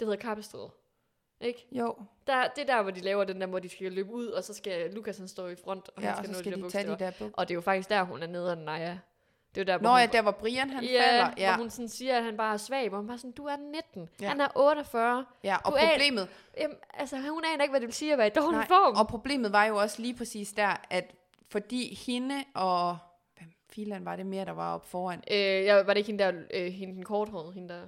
A: Det hedder Kappestræde. Ikke?
B: Jo,
A: Der, det er der, hvor de laver den der, hvor de skal løbe ud, og så skal Lukas han stå i front, og
B: ja,
A: han
B: og
A: skal
B: så
A: nå
B: skal
A: de,
B: de
A: der
B: tage de
A: bogstaver.
B: der bog.
A: Og det er jo faktisk der, hun er nede af Naja. Det er jo der, hvor
B: Nå
A: hun,
B: ja, der hvor Brian han
A: ja,
B: falder.
A: Hvor hun sådan siger, at han bare er svag, hvor hun bare sådan, du er 19,
B: Ja.
A: ja. han er 48.
B: Ja, og
A: Du er-
B: problemet,
A: Jamen, altså, hun aner ikke, hvad det vil sige at være i dårlig
B: Nej,
A: form.
B: og problemet var jo også lige præcis der, at fordi hende og... Hvem filan var det mere, der var oppe foran?
A: Øh, jeg, var det ikke hende der, øh, hende den korthårede, hende der?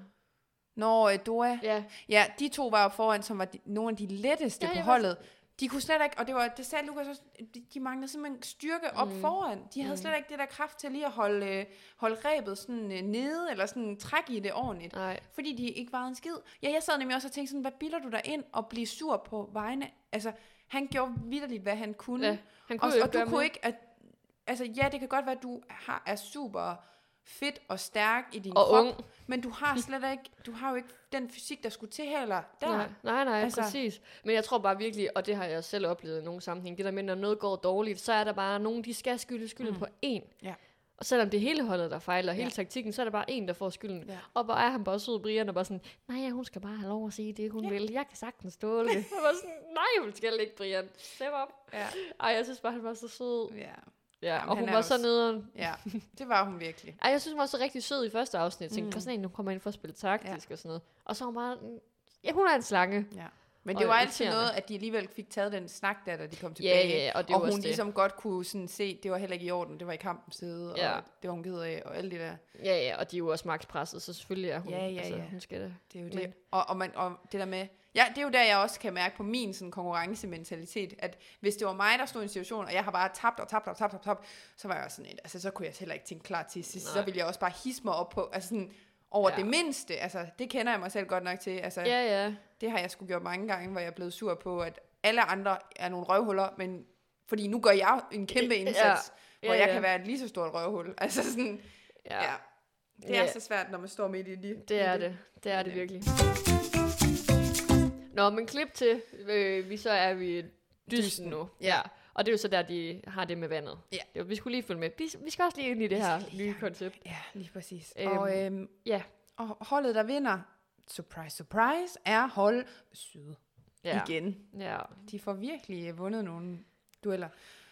B: Nå, øh, Dora.
A: Ja,
B: Ja, de to var oppe foran, som var de, nogle af de letteste
A: Ja,
B: ja, på
A: jeg var
B: holdet. De kunne slet ikke, og det, var, det sagde Lukas også, de, de manglede simpelthen styrke op mm. foran. De havde mm. slet ikke det der kraft til lige at holde, øh, holde rebet sådan øh, nede, eller sådan trække i det ordentligt.
A: nej.
B: fordi de ikke var en skid. Ja, jeg sad nemlig også og tænkte sådan, hvad bilder du dig ind og blive sur på vegne? Altså, han gjorde vidderligt, hvad han kunne.
A: Ja, han kunne
B: og,
A: jo ikke
B: og du
A: gøre
B: kunne
A: mere.
B: ikke... At, altså, ja, det kan godt være, at du har, er super fedt og stærk i din
A: Og
B: krop,
A: ung.
B: men du har slet ikke, du har jo ikke den fysik, der skulle til heller. Der.
A: Nej, nej, nej altså.
B: Altså-
A: præcis. Men jeg tror bare virkelig, og det har jeg selv oplevet i nogle sammenhæng, det der med, når noget går dårligt, så er der bare nogen, de skal skylde skylden mm. på én.
B: Ja.
A: Og selvom det er hele holdet, der fejler, hele
B: Ja.
A: ja. taktikken, så er der bare en, der får skylden.
B: Ja.
A: Og hvor er han bare sød, Brian, og bare sådan, nej, ja, hun skal bare have lov at sige det, hun
B: Ja.
A: ja. vil. Jeg kan sagtens ståle det. Jeg var sådan, nej, hun skal ikke, Brian. Step op.
B: Ja.
A: Ej, jeg synes bare, han var så sød.
B: Ja.
A: Ja,
B: Jamen,
A: og
B: han
A: hun
B: er
A: var
B: også-
A: så nederen.
B: ja, det var hun virkelig.
A: Ej, jeg synes, hun var så rigtig sød i første afsnit. Jeg tænkte, mm. sådan en, hun kommer ind for at spille taktisk ja. og sådan noget. Og så er hun bare, en- ja, hun er en slange.
B: Ja. Men
A: Og
B: det var altid
A: irriterende.
B: noget, at de alligevel fik taget den snak der, da de kom
A: Ja, ja,
B: tilbage.
A: ja, og det er
B: og
A: jo også
B: hun
A: det.
B: ligesom godt kunne sådan se, det var heller ikke i orden, det var i kampens side,
A: Ja.
B: og det var hun ked af, og alt det der.
A: Ja, ja, og de er jo også makspresset, så selvfølgelig er hun,
B: Ja, ja,
A: altså,
B: ja.
A: hun skal det.
B: Det er jo
A: Men-
B: det. Og, og, man, og det der med... Ja, det er jo der, jeg også kan mærke på min sådan, konkurrencementalitet, at hvis det var mig, der stod i en situation, og jeg har bare tabt og tabt og tabt og tabt, så var jeg også sådan et, altså så kunne jeg heller ikke tænke klar til sidst, så
A: Nej.
B: ville jeg også bare hisse mig op på, altså sådan over ja.
A: Ja.
B: det mindste, altså det kender jeg mig selv godt nok til, altså ja.
A: Ja, ja.
B: det har jeg sgu gjort mange gange, hvor jeg er blevet sur på, at alle andre er nogle røvhuller, men fordi nu gør jeg en kæmpe
A: Ja.
B: indsats, ja.
A: Ja,
B: hvor jeg
A: ja.
B: kan være et lige så stort røvhul, altså sådan, ja. ja. Det er
A: Ja.
B: så svært, når man står midt i det.
A: Det er det. Det er det
B: Ja.
A: virkelig. Nå, men klip til, øh, vi så er vi i dysten nu.
B: Ja.
A: Og det er jo så der, de har det med vandet.
B: Ja.
A: Jo, vi skulle lige følge med. Vi, vi skal også lige ind i det her nye koncept.
B: Ja, lige præcis. Øhm,
A: Øhm,
B: og, øhm,
A: ja.
B: og holdet, der vinder, surprise, surprise, er hold syd.
A: Ja.
B: igen.
A: Ja.
B: De får virkelig øh, vundet nogle dueller.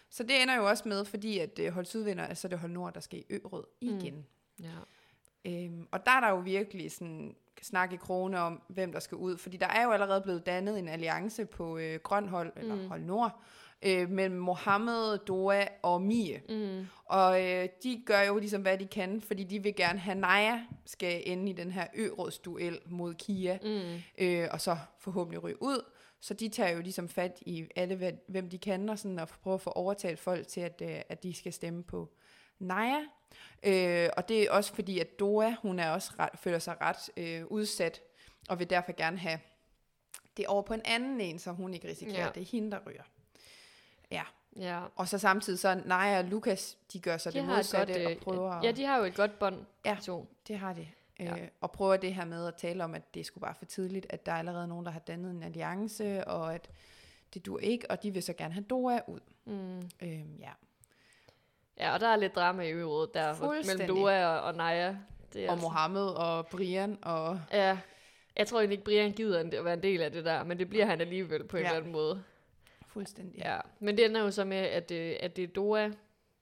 B: Så det ender jo også med, fordi at øh, hold syd vinder, at så er det hold nord, der skal i ø-rød igen.
A: ja.
B: Mm. Øhm, og der er der jo virkelig sådan snak i krone om, hvem der skal ud. Fordi der er jo allerede blevet dannet en alliance på øh, grøn hold, eller mm. hold nord, øh, mellem Mohammed, Doa og Mie.
A: Mm.
B: Og øh, de gør jo ligesom, hvad de kan, fordi de vil gerne have Naja skal ende i den her ørådsduel mod Kia,
A: Mm.
B: øh, og så forhåbentlig ryge ud. Så de tager jo ligesom fat i alle, hvad- hvem de kan, og, sådan, og prøver at få overtalt folk til, at, øh, at de skal stemme på Naja. Øh, og det er også fordi, at Dora, hun er også ret, føler sig ret øh, udsat, og vil derfor gerne have det over på en anden en, så hun ikke risikerer,
A: Ja.
B: ja. det er hende, der ryger. Ja,
A: Ja.
B: og så samtidig så Naja og Lukas, de gør så de det
A: har et
B: modsatte godt,
A: øh,
B: og prøver...
A: Ja, de har jo et godt bånd.
B: Ja.
A: de To.
B: det har de.
A: Ja.
B: Ja. Øh, og prøver det her med at tale om, at det skulle bare for tidligt, at der er allerede nogen, der har dannet en alliance, og at det dur ikke, og de vil så gerne have Dora ud.
A: Mm.
B: Øh, ja.
A: Ja, og der er lidt drama i øvrigt der hvor- mellem
B: Fuldstændig.
A: Dua og, og Naja. Det er altså-
B: Og
A: sådan-
B: Mohammed og Brian og...
A: Ja. Jeg tror egentlig ikke, Brian gider en- at være en del af det der, men det bliver han alligevel på en
B: Ja.
A: eller anden måde.
B: Fuldstændig. Ja.
A: Ja. Men det ender jo så med, at, øh, at det er Dora,
B: Ja.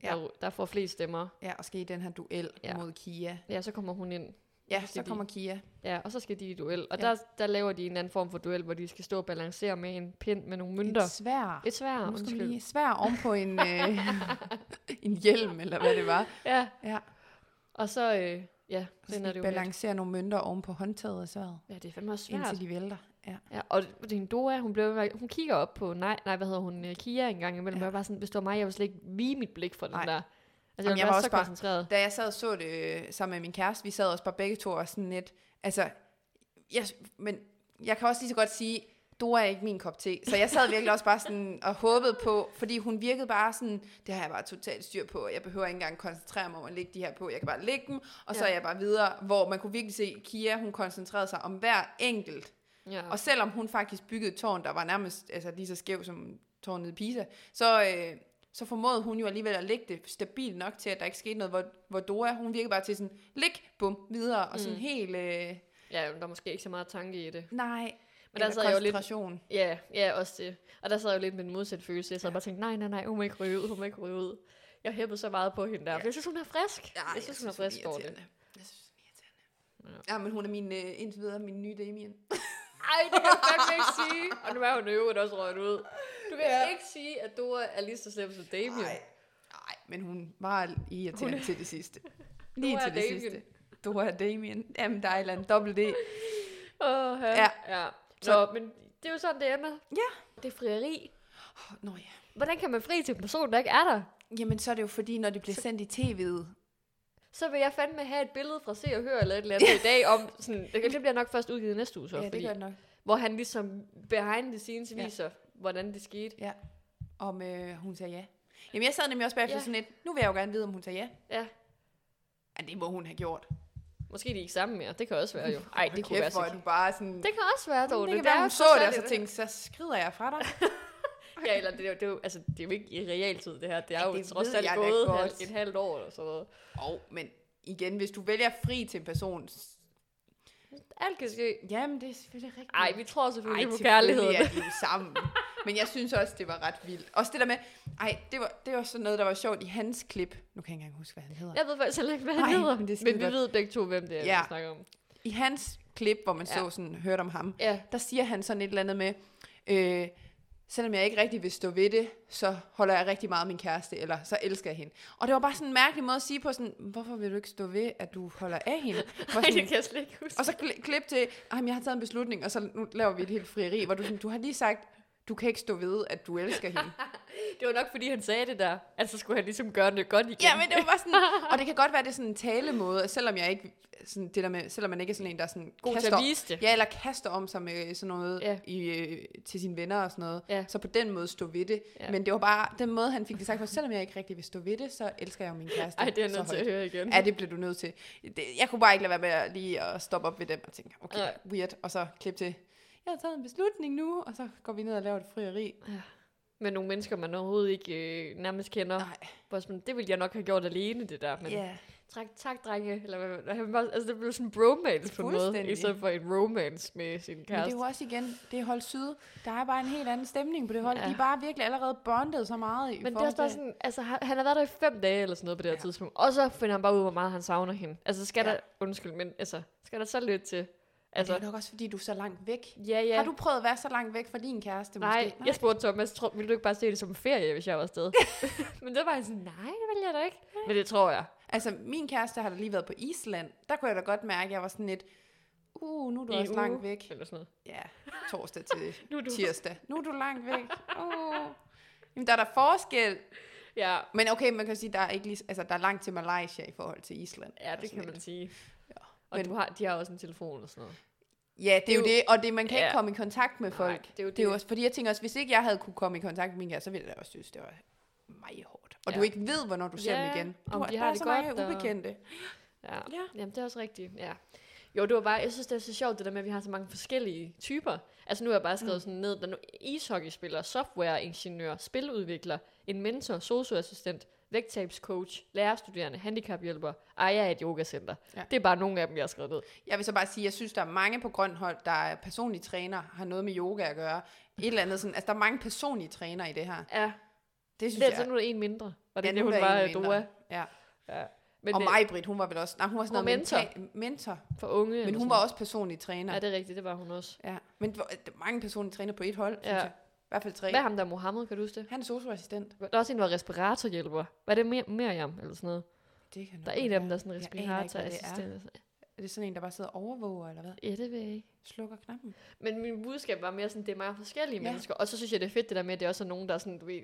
A: der, der får flest stemmer.
B: ja, og skal i den her duel
A: Ja.
B: ja. mod Kia.
A: Ja, så kommer hun ind.
B: Ja,
A: skal
B: så
A: de-
B: kommer Kia.
A: Ja, og så skal de i duel. Og ja.
B: Ja.
A: der, der laver de en anden form for duel, hvor de skal stå og balancere med en pind med nogle
B: En
A: mønter.
B: svær.
A: Et svær,
B: Nu skal vi
A: undskyld.
B: lige svær oven på en, øh, en hjelm, eller hvad det var.
A: Ja,
B: Ja,
A: og så, øh, ja,
B: så
A: så ender
B: skal
A: det
B: de
A: jo med.
B: balancere nogle mønter oven på håndtaget af sværet.
A: Ja, det er fandme også svært.
B: Indtil de vælter. Ja.
A: Ja, og det er en Dora, hun, blev, ved med- hun kigger op på, nej, nej, hvad hedder hun, øh, Kia en gang imellem, ja.
B: Ja.
A: og jeg var sådan, hvis det var mig, jeg ville slet ikke vige mit blik for den
B: Nej.
A: der. Altså, jeg, ville
B: Jamen, jeg
A: være
B: var
A: så
B: også bare-
A: koncentreret.
B: Da jeg sad og så det øh, sammen med min kæreste, vi sad også bare begge to og sådan lidt, altså, jeg, men jeg kan også lige så godt sige, Dora er ikke min kop te. Så jeg sad virkelig også bare sådan og håbede på, fordi hun virkede bare sådan, det har jeg bare totalt styr på, og jeg behøver ikke engang koncentrere mig om at lægge de her på, jeg kan bare lægge dem, og så
A: Ja.
B: er jeg bare videre, hvor man kunne virkelig se, Kia, hun koncentrerede sig om hver enkelt.
A: Ja.
B: Og selvom hun faktisk byggede et tårn, der var nærmest altså, lige så skæv som tårnet i Pisa, så, øh, så formåede hun jo alligevel at lægge det stabilt nok til, at der ikke skete noget, hvor, hvor Dora, hun virkede bare til sådan, læg, bum, videre, og sådan
A: Mm.
B: helt, øh,
A: ja, jamen, der er måske ikke så meget tanke i det.
B: nej,
A: Men der
B: eller
A: sad jeg jo lidt,
B: koncentration.
A: ja, ja, også det. Og der sad jeg jo lidt med en modsat følelse. Jeg sad ja. bare og tænkte, nej, nej, nej, hun må ikke ryge ud, hun må ikke ryge ud. Jeg hæppede så meget på hende der.
B: Ja.
A: Ja. Jeg synes, hun er frisk.
B: Ja,
A: jeg, synes, hun er frisk over det.
B: irriterende. Jeg synes, hun er irriterende. Ja. ja, men hun er min, øh, indtil videre, min nye Damien.
A: Ej, det kan jeg fandme ikke sige. Og nu er hun i øvrigt også røget ud. Du kan ja. ikke sige, at Dora er lige så slem som Damien.
B: Nej, nej, men hun var irriterende til det sidste. Lige
A: Dora
B: til
A: er
B: det
A: Damien.
B: sidste. Dora er Damien. Jamen, der er et eller andet dobbelt D.
A: Åh, ja.
B: Ja.
A: ja. Så,
B: Så-
A: Nå, men det er jo sådan, det ender.
B: Ja.
A: Det er frieri.
B: Nå ja.
A: Hvordan kan man fri til en person, der ikke er der?
B: Jamen, så er det jo fordi, når det bliver sendt i tv'et.
A: Så vil jeg fandme have et billede fra Se og Hør eller et eller andet i dag om, sådan, det det bliver nok først udgivet næste uge så,
B: Ja, det
A: fordi,
B: gør det nok.
A: hvor han ligesom behind the scenes
B: Ja.
A: viser, hvordan det skete.
B: Ja. Om øh, hun sagde ja. Jamen, jeg sad nemlig også bagefter
A: Ja.
B: ja. sådan lidt, nu vil jeg jo gerne vide, om hun sagde ja.
A: Ja,
B: Ja, det må hun have gjort.
A: måske de er ikke sammen mere. Det kan også være jo. Ej, det
B: Hold
A: kunne være
B: hvor
A: så
B: er du bare sådan...
A: Det kan også være, dog.
B: det, det kan
A: er
B: være, hun
A: jo
B: så det, og
A: særligt,
B: så tænkte, så skrider jeg fra dig.
A: her. Ja, eller det, er jo- det, er jo, altså, det er jo ikke i realtid, det her. Det er
B: Ej,
A: jo
B: det
A: trods
B: ved
A: alt
B: jeg da
A: gået
B: godt.
A: halv- et halvt år eller sådan noget.
B: Og, men igen, hvis du vælger fri til en person... s-
A: Alt kan ske.
B: Jamen, det er selvfølgelig rigtigt.
A: Ej, vi tror selvfølgelig på
B: selvfølgelig
A: kærligheden.
B: er de jo sammen. Men jeg synes også, det var ret vildt. Også det der med, ej, det var, det var sådan noget, der var sjovt i hans klip. Nu kan jeg ikke engang huske, hvad han hedder.
A: Jeg ved faktisk heller ikke, hvad han
B: Nej,
A: hedder.
B: men det er
A: men
B: skide
A: vi
B: godt.
A: ved begge to, hvem det er,
B: Ja.
A: vi snakker om.
B: I hans klip, hvor man
A: Ja.
B: ja. så sådan, hørte om ham,
A: Ja,
B: der siger han sådan et eller andet med, øh, selvom jeg ikke rigtig vil stå ved det, så holder jeg rigtig meget af min kæreste, eller så elsker jeg hende. Og det var bare sådan en mærkelig måde at sige på sådan, hvorfor vil du ikke stå ved, at du holder af hende? Hvor
A: Ej, det
B: sådan,
A: kan jeg slet ikke huske.
B: og så kli- klip til, at jeg har taget en beslutning, og så nu laver vi et helt frieri, hvor du, sådan, du har lige sagt, du kan ikke stå ved, at du elsker hende.
A: Det var nok, fordi han sagde det der, at så skulle han ligesom gøre det godt igen.
B: Ja, men det var bare sådan, og det kan godt være, det er sådan en talemåde, at selvom jeg ikke, sådan det der med, selvom man ikke er sådan en, der sådan
A: God til
B: kaster,
A: at vise det.
B: Ja, eller kaster om sig med sådan noget
A: Ja.
B: ja. i, øh, til sine venner og sådan noget.
A: Ja.
B: Så på den måde stå ved det.
A: Ja.
B: Ja. Men det var bare den måde, han fik det sagt på. Selvom jeg ikke rigtig vil stå ved det, så elsker jeg jo min kæreste.
A: Ej, det er jeg
B: så
A: nødt til at
B: højt.
A: høre igen.
B: Ja, det blev du nødt til. Det, jeg kunne bare ikke lade være med at lige at stoppe op ved dem og tænke, okay,
A: Nej.
B: weird. Og så klip til, jeg har taget en beslutning nu, og så går vi ned og laver et frieri.
A: Ja. med nogle mennesker, man overhovedet ikke øh, nærmest kender.
B: Nej.
A: Hvor jeg sådan, det ville jeg nok have gjort alene, det der. Men yeah.
B: Ja.
A: tak, tak, drenge. Eller, hvad- hvad- han var, altså, det blev sådan en bromance på en måde, i
B: Fuldstændig.
A: stedet for en romance med sin
B: Men det er
A: kæreste.
B: jo også igen, det er hold syd. Der er bare en helt anden stemning på det hold.
A: Ja.
B: Ja. De er bare virkelig allerede bondet så meget. I
A: Men det er
B: forhold
A: også bare
B: til-
A: sådan, altså han han har været der i fem dage eller sådan noget på det her ja.
B: Ja.
A: tidspunkt, og så finder han bare ud, hvor meget han savner hende. Altså skal ja.
B: Ja.
A: der, undskyld, men altså, skal der så lidt til?
B: Altså,
A: Altså,
B: det er nok også, fordi du er så langt væk.
A: ja, ja.
B: Ja. Har du prøvet at være så langt væk fra din kæreste?
A: nej,
B: måske?
A: jeg spurgte Thomas, tror, ville du ikke bare se det som en ferie, hvis jeg var afsted? men det var han sådan, nej, det vil jeg da ikke. Men det tror jeg.
B: Altså, min kæreste har da lige været på Island. Der kunne jeg da godt mærke, at jeg var sådan lidt, uh, nu er du
A: I en
B: også
A: uge
B: langt væk.
A: Eller sådan noget.
B: Ja, torsdag til
A: Nu er du-
B: tirsdag. Nu er du langt væk. Uh. Jamen, der er der forskel.
A: Ja,
B: Men okay, man kan sige, der er, ikke lige, altså, der er langt til Malaysia i forhold til Island. Altså,
A: ja det
B: Sådan
A: kan
B: lidt.
A: man sige.
B: Ja.
A: Og
B: Men-
A: du har, de har også en telefon og sådan noget.
B: Ja, det er jo det, og det, man kan
A: Ja.
B: ikke komme i kontakt med
A: Nej,
B: folk.
A: det er jo
B: det er jo
A: det.
B: også, fordi jeg tænker også, hvis ikke jeg havde kunne komme i kontakt med min kæreste, så ville jeg da også synes, det var meget hårdt. Og ja. du
A: Ja.
B: ikke ved, hvornår du ser
A: Ja,
B: dem igen. Du
A: om
B: har,
A: de
B: der
A: har
B: er
A: det
B: så
A: godt,
B: mange
A: og-
B: ubekendte.
A: Ja.
B: Ja.
A: Jamen, det er også rigtigt, ja. Jo, det var bare, jeg synes, det er så sjovt, det der med, at vi har så mange forskellige typer. Altså, nu har jeg bare
B: Mm.
A: skrevet sådan ned, der er nu ishockeyspiller, softwareingeniør, spiludvikler, en mentor, socioassistent, vægttabscoach, lærerstuderende, handicaphjælper, ejer af et yogacenter. Ja.
B: Ja.
A: Det er bare nogle af dem, jeg har skrevet ned.
B: Jeg vil så bare sige, at jeg synes, der er mange på Grønhold, der er personlige træner, har noget med yoga at gøre. Et eller andet sådan. Altså, der er mange personlige træner i det her.
A: Ja,
B: Det
A: det er
B: synes
A: altså
B: jeg.
A: nu er der en mindre. Var det
B: Ja,
A: ja, det,
B: nu
A: hun
B: er der
A: var,
B: en
A: øh,
B: mindre.
A: Doa?
B: Ja.
A: Ja. Men
B: Og
A: øh,
B: mig, Britt, hun var vel også... Nej, hun var sådan
A: Hun var
B: noget
A: mentor.
B: mental- mentor.
A: for unge.
B: Men
A: eller
B: hun
A: sådan
B: var
A: noget.
B: også personlig træner.
A: Ja, det er rigtigt, det var hun også.
B: Ja. Men hvor- der er mange personlige træner på et hold, synes
A: Ja.
B: jeg. I hvert fald tre.
A: Hvad er ham der, Mohammed, kan du huske det?
B: Han er socioassistent.
A: Der er også en, der var respiratorhjælper. Var det Mer- Miriam, eller sådan noget?
B: Det kan
A: Der er
B: nok
A: en af dem, der
B: være.
A: er sådan en
B: Jeg aner ikke, hvad det er.
A: respiratorassistent.
B: Er det sådan en, der bare sidder og overvåger, eller hvad?
A: Ja, det ved jeg ikke.
B: Slukker knappen.
A: Men min budskab var mere sådan, det er meget forskellige ja.
B: Ja.
A: mennesker. Og så synes jeg, det er fedt det der med, at det også er nogen, der er sådan, du ved...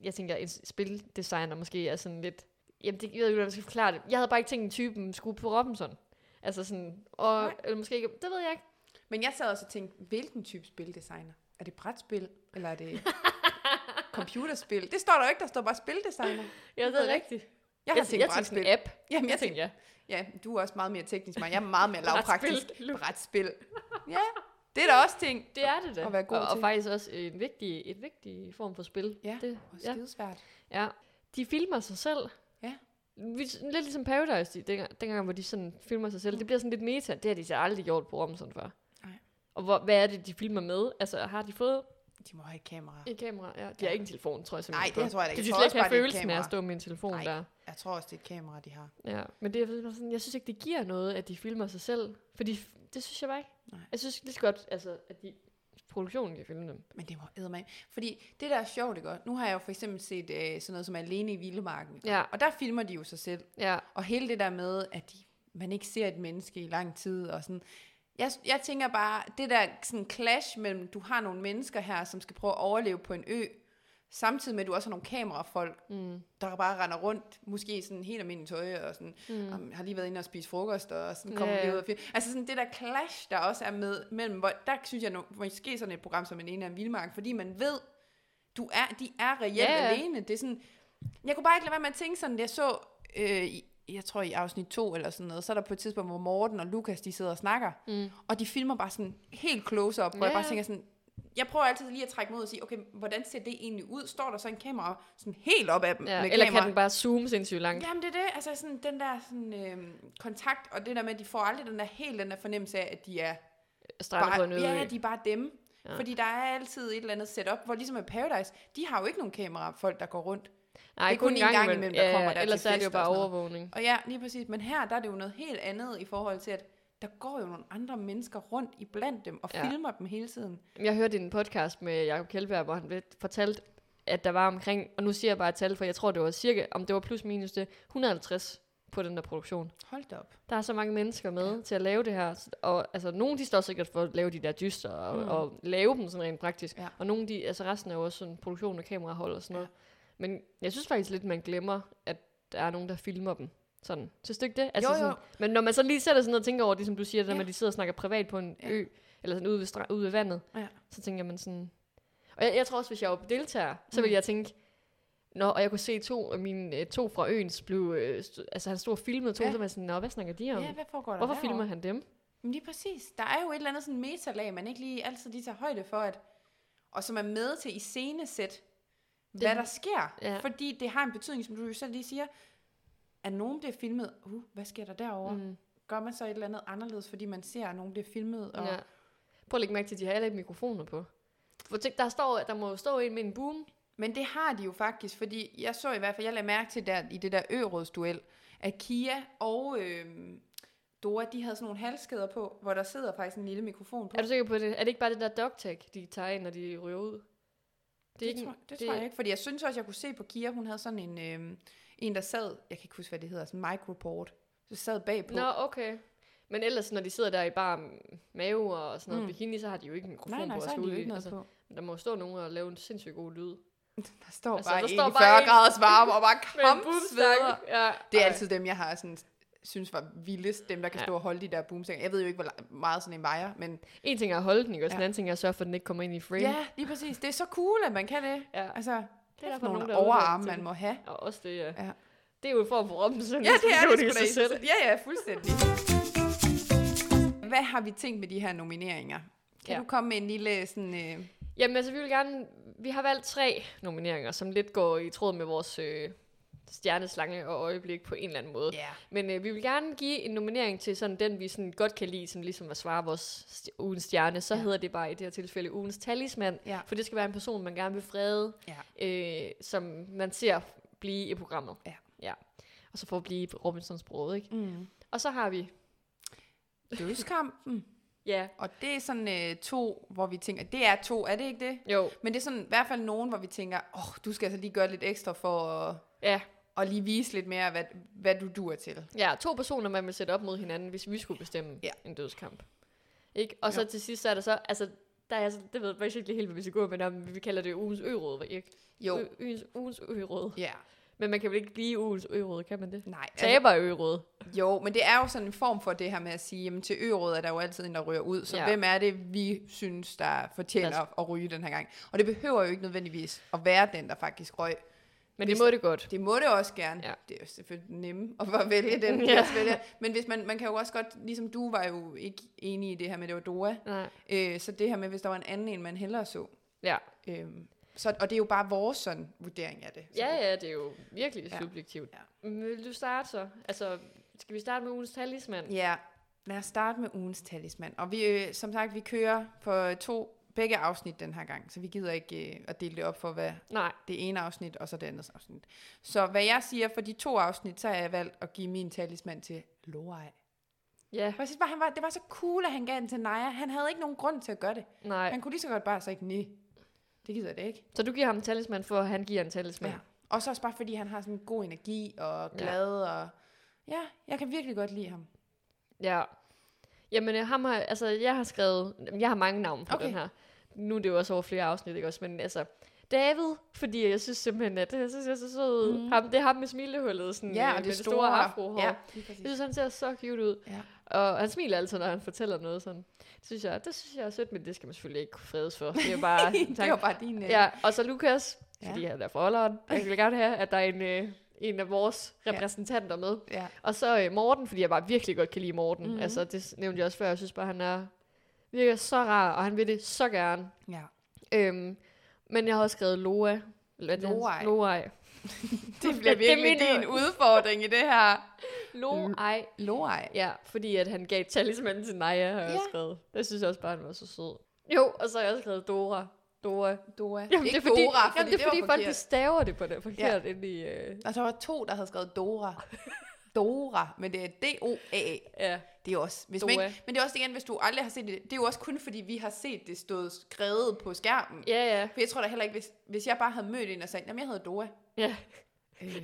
A: Jeg tænker, en spildesigner måske er sådan lidt... Jamen, det, jeg ved ikke, hvordan jeg skal forklare det. Jeg havde bare ikke tænkt, at typen skulle på Robinson. Altså sådan, og,
B: Nej.
A: eller måske ikke, det ved jeg ikke.
B: Men jeg sad også og tænkte, hvilken type spildesigner? Er det brætspil, eller er det computerspil? Det står der jo ikke, der står bare spildesigner.
A: Jeg ved det rigtigt.
B: Jeg har
A: jeg,
B: tænkt
A: jeg tænkte
B: brætspil.
A: sådan en app.
B: Jamen,
A: Jeg
B: jeg
A: tænkte,
B: tænkte,
A: ja.
B: ja, du er også meget mere teknisk, men jeg er meget mere lavpraktisk.
A: Brætspil.
B: Brætspil. Ja, det er da også ting.
A: Det er det da.
B: At være god
A: og, og
B: til.
A: faktisk også en vigtig, et vigtig form for spil.
B: Ja,
A: det,
B: Og skidesvært.
A: Ja, de filmer sig selv.
B: Ja.
A: Vi, lidt ligesom Paradise, de, dengang, dengang, hvor de sådan filmer sig selv. Det bliver sådan lidt meta. Det har de så aldrig gjort på Robinson før.
B: Nej.
A: Og hvor, hvad er det, de filmer med? Altså, har de fået
B: De må have et kamera.
A: et kamera? Ja, de har
B: Ja.
A: ikke en telefon, tror jeg
B: Nej,
A: simpelthen.
B: det tror jeg da ikke.
A: Kan
B: Jeg
A: de
B: tror
A: slet
B: også
A: ikke
B: bare,
A: have
B: det er et
A: følelsen af at
B: kamera.
A: stå med en telefon
B: Nej.
A: der?
B: Jeg tror også, det er et kamera, de har.
A: Ja, men det er sådan, jeg synes ikke, det giver noget, at de filmer sig selv. Fordi f- det synes jeg bare ikke.
B: Nej.
A: Jeg synes lige så godt, altså, at de, produktionen kan filme dem.
B: Men det må eddermame. Fordi det, der er sjovt, det godt. Nu har jeg jo for eksempel set øh, sådan noget som Alene i Vildmarken.
A: Ja.
B: Og der filmer de jo sig selv.
A: Ja,
B: Og hele det der med, at de, man ikke ser et menneske i lang tid, og sådan... Jeg, jeg tænker bare, det der sådan clash mellem, du har nogle mennesker her, som skal prøve at overleve på en ø, samtidig med, at du også har nogle kamerafolk, mm. der bare render rundt, måske i sådan helt almindeligt tøj, og sådan, mm. om, har lige været inde og spise frokost, og sådan kommer
A: Ja, ja.
B: yeah. lige ud og film. Altså sådan det der clash, der også er med, mellem, hvor, der synes jeg, nu, måske sådan et program som en ene af Vildmark, fordi man ved, du er, de er reelt
A: Ja, ja.
B: yeah. alene. Det er sådan, jeg kunne bare ikke lade være med at tænke sådan, jeg så, øh, i, jeg tror i afsnit 2 eller sådan noget, så er der på et tidspunkt, hvor Morten og Lukas, de sidder og snakker, mm. og de filmer bare sådan helt close up, hvor jeg
A: Ja.
B: bare tænker sådan, jeg prøver altid lige at trække mod og sige, okay, hvordan ser det egentlig ud? Står der så en kamera sådan helt op af dem?
A: ja.
B: med
A: eller
B: kamera?
A: kan den bare zoome sindssygt langt?
B: Jamen det er det, altså sådan den der sådan, øh, kontakt, og det der med, at de får aldrig den der helt den der fornemmelse af, at de er
A: Strander på en øde ø.
B: ja, de er bare dem. Ja. Fordi der er altid et eller andet setup, hvor ligesom med Paradise, de har jo ikke nogen kamera, folk der går rundt.
A: Nej,
B: Det er kun en gang imellem, der kommer der
A: Ellers
B: til
A: er det jo
B: fest og
A: bare
B: sådan noget.
A: overvågning.
B: Og ja, lige præcis. Men her, der er det jo noget helt andet i forhold til, at der går jo nogle andre mennesker rundt i blandt dem og
A: Ja.
B: ja. filmer dem hele tiden.
A: Jeg hørte en podcast med Jacob Kjeldberg, hvor han lidt fortalte, at der var omkring, og nu siger jeg bare et tal, for jeg tror, det var cirka, om det var plus minus det, 150 på den der produktion.
B: Hold da op.
A: Der er så mange mennesker med ja. til at lave det her, s- og altså, nogle de står sikkert for at lave de der dyster og, mm. og lave dem sådan rent praktisk,
B: Ja.
A: og nogle de, altså resten er jo også sådan produktion og kamerahold og sådan noget. Men jeg synes faktisk lidt, man glemmer, at der er nogen, der filmer dem. Sådan. Synes du ikke det? Altså
B: Jo, jo.
A: Sådan, men når man så lige sætter sig ned og tænker over det, som du siger, det der
B: Ja.
A: med, at de sidder og snakker privat på en
B: Ja.
A: ø, eller sådan ude ved, stra- ude ved vandet,
B: Ja.
A: så tænker man sådan... Og jeg, jeg tror også, hvis jeg var deltager, så
B: Mm.
A: ville jeg tænke, Nå, og jeg kunne se to af mine øh, to fra øens blev... Øh, st- altså, han stod og filmede to, ja.
B: Ja.
A: så var jeg sådan, Nå, hvad snakker de om?
B: Ja, hvad foregår der
A: Hvorfor
B: derovre?
A: filmer han dem?
B: Men lige præcis. Der er jo et eller andet sådan metalag, man ikke lige altid lige tager højde for, at... Og og som er med til i scenesæt,
A: Det-
B: hvad der sker.
A: ja.
B: Fordi det har en betydning, som du jo selv lige siger, at nogen bliver filmet, uh, hvad sker der derovre? Mm.
A: Mm,
B: Gør man så et eller andet anderledes, fordi man ser, at nogen bliver filmet? Og...
A: ja. Prøv at lægge mærke til, at de har alle mikrofoner på. For tænk, der, står, der må jo stå en med en boom.
B: Men det har de jo faktisk, fordi jeg så i hvert fald, jeg lagde mærke til der, i det der ørådsduel, at Kia og øh, Dora, de havde sådan nogle halskæder på, hvor der sidder faktisk en lille mikrofon på.
A: Er du sikker på det? Er det ikke bare det der dogtag, de tager ind, når de ryger ud?
B: det, det, tror, det, det tror jeg ikke, fordi jeg synes også, jeg kunne se på Kia, hun havde sådan en, øh, en der sad, jeg kan ikke huske, hvad det hedder, sådan en microport, så sad bagpå.
A: Nå, okay. Men ellers, når de sidder der i bare mave og sådan noget
B: Mm.
A: mm. bikini, så har de jo ikke en mikrofon
B: nej, nej,
A: på.
B: så
A: og
B: har de
A: skulle
B: jo ikke
A: i.
B: noget
A: Altså,
B: på.
A: Der må jo stå nogen og lave en sindssygt god lyd.
B: Der står
A: altså,
B: altså, bare
A: der
B: en
A: står
B: i 40
A: bare en-
B: graders varme og bare
A: Med en
B: kampsveder.
A: boomstak. Ja.
B: Det er altså-
A: Ej.
B: altid dem, jeg har sådan, synes var vildest, dem der kan
A: Ja.
B: stå og holde de der boomstænger. Jeg ved jo ikke, hvor la- meget sådan en vejer, men
A: En ting er at holde den, ikke? Og ja.
B: Ja.
A: en anden ting er at sørge for, at den ikke kommer ind i frame.
B: Ja, lige præcis. Det er så cool, at man kan det.
A: ja.
B: Altså, det er
A: derfor
B: nogle
A: nogen, der er
B: overarme,
A: uddannet til
B: man
A: det.
B: må have.
A: Og også det, ja.
B: Ja.
A: Det er jo en form for robinson
B: Ja, det er det sgu da
A: sig selv.
B: i- Ja, ja, fuldstændig. Hvad har vi tænkt med de her nomineringer? Kan
A: Ja.
B: du komme med en lille sådan... Øh,
A: Jamen altså, vi vil gerne... Vi har valgt tre nomineringer, som lidt går i tråd med vores øh, stjerneslange og øjeblik på en eller anden måde.
B: ja.
A: Men øh, vi vil gerne give en nominering til sådan den, vi sådan godt kan lide, som ligesom at svare vores st- ugens stjerne. Så
B: Ja.
A: ja. hedder det bare i det her tilfælde ugens talisman.
B: Ja.
A: For det skal være en person, man gerne vil frede, øh, som man ser blive i programmet.
B: Ja.
A: ja. Og så for at blive Robinsons bror, ikke?
B: Mm.
A: Og så har vi...
B: Dødskampen.
A: Ja,
B: Og det er sådan øh, to, hvor vi tænker... Det er to, er det ikke det?
A: jo.
B: Men det er sådan i hvert fald nogen, hvor vi tænker, åh, oh, du skal altså lige gøre lidt ekstra for at,
A: Ja,
B: at lige vise lidt mere, hvad, hvad du dur til.
A: ja, to personer, man vil sætte op mod hinanden, hvis vi skulle bestemme
B: Ja.
A: ja. en dødskamp. Ikke? Og så
B: Jo.
A: til sidst, så er der så... Altså, der er, altså, det ved jeg faktisk ikke helt, hvad vi skal gå med, men vi kalder det ugens ø-råd, ikke?
B: Jo.
A: Ø- ugens, ugens ø-råd.
B: Ja.
A: Men man kan vel ikke blive ugens ø-råd, kan man det?
B: Nej. Altså,
A: Taber ø-råd.
B: Jo, men det er jo sådan en form for det her med at sige, jamen til ørådet er der jo altid en, der ryger ud, så ja.
A: Ja.
B: hvem er det, vi synes, der fortjener
A: Der-
B: at- at ryge den her gang? Og det behøver jo ikke nødvendigvis at være den, der faktisk røg.
A: Men
B: Hvis-
A: det må det godt.
B: Det må det også gerne. Ja.
A: Ja.
B: Det er jo selvfølgelig nemme at bare vælge den.
A: Ja.
B: Ja. Vælge. Men hvis man, man kan jo også godt, ligesom du var jo ikke enig i det her med, det var Dora,
A: Nej.
B: øh, så det her med, hvis der var en anden en, man hellere så.
A: Ja.
B: Øh, så, og det er jo bare vores sådan vurdering af det. Så
A: ja,
B: det-
A: ja, det er jo virkelig
B: Ja.
A: ja. subjektivt.
B: Ja.
A: Ja. Vil du starte så? Altså, skal vi starte med ugens talisman?
B: Ja, lad os starte med ugens talisman. Og vi, øh, som sagt, vi kører på to, begge afsnit den her gang, så vi gider ikke øh, at dele det op for, hvad
A: Nej.
B: det ene afsnit og så det andet afsnit. Så hvad jeg siger for de to afsnit, så har jeg valgt at give min talisman til Lorej.
A: Ja,
B: Jeg synes bare, han var, det var så cool, at han gav den til Naja. Han havde ikke nogen grund til at gøre det.
A: nej.
B: Han kunne lige så godt bare sige, nej, det gider jeg da ikke.
A: Så du giver ham en talisman, for at han giver en talisman.
B: Ja. Og så også bare, fordi han har sådan god energi og glad, ja. og ja, jeg kan virkelig godt lide ham.
A: Ja. Jamen, øh, ham har, altså, jeg har skrevet... Jamen, Jeg har mange navne på
B: Okay.
A: okay. den her. Nu er det jo også over flere afsnit, ikke også? Men altså, David, fordi jeg synes simpelthen, at jeg synes, jeg er så sød.
B: Mm.
A: Mm. Ham, det er ham med smilehullet, sådan, øh,
B: Ja, og
A: med
B: Mm, det, store,
A: afrohår.
B: Ja, lige præcis.
A: Jeg synes, han ser så cute ud.
B: Ja.
A: Og han smiler altid, når han fortæller noget sådan. Det synes jeg, det synes jeg er sødt, men det skal man selvfølgelig ikke kunne fredes for. Det er bare...
B: det var bare din... øh,
A: ja, og så Lukas,
B: Ja.
A: fordi han er fra Holland. Jeg vil gerne have, at der er en, øh, en af vores repræsentanter med.
B: ja.
A: Og så øh, Morten, fordi jeg bare virkelig godt kan lide Morten.
B: Mhm.
A: Mm-hmm. Altså, det s- nævnte jeg også før. Jeg synes bare, han er virker så rar, og han vil det så gerne.
B: ja.
A: Øhm, men jeg har også skrevet Loa. Eller er det hans-
B: Loai.
A: Loai.
B: Det øh, bliver
A: Det
B: virkelig det
A: mener jeg.
B: din udfordring i det her.
A: Loai.
B: Lorej.
A: Mm. Ja, fordi at han gav talismanen til Naja, har jeg
B: Ja.
A: ja. skrevet. Jeg synes også bare, han var så sød. Jo, og så har jeg også skrevet Dora. Dora.
B: Dora.
A: Jamen,
B: ikke
A: det er fordi,
B: Dora, fordi
A: jamen, det er fordi
B: var
A: folk de
B: forkert.
A: staver det på det forkert ja. inde i... Øh,
B: Og der var to, der havde skrevet Dora. Dora, men det er D-O-A.
A: ja.
B: Det er også, hvis man
A: Dora.
B: ikke, men det er også igen, hvis du aldrig har set det, det er jo også kun fordi, vi har set det stået skrevet på skærmen.
A: ja, ja,
B: For jeg tror da heller ikke, hvis, hvis jeg bare havde mødt en og sagt, jamen jeg hedder Dora.
A: ja.
B: Øh,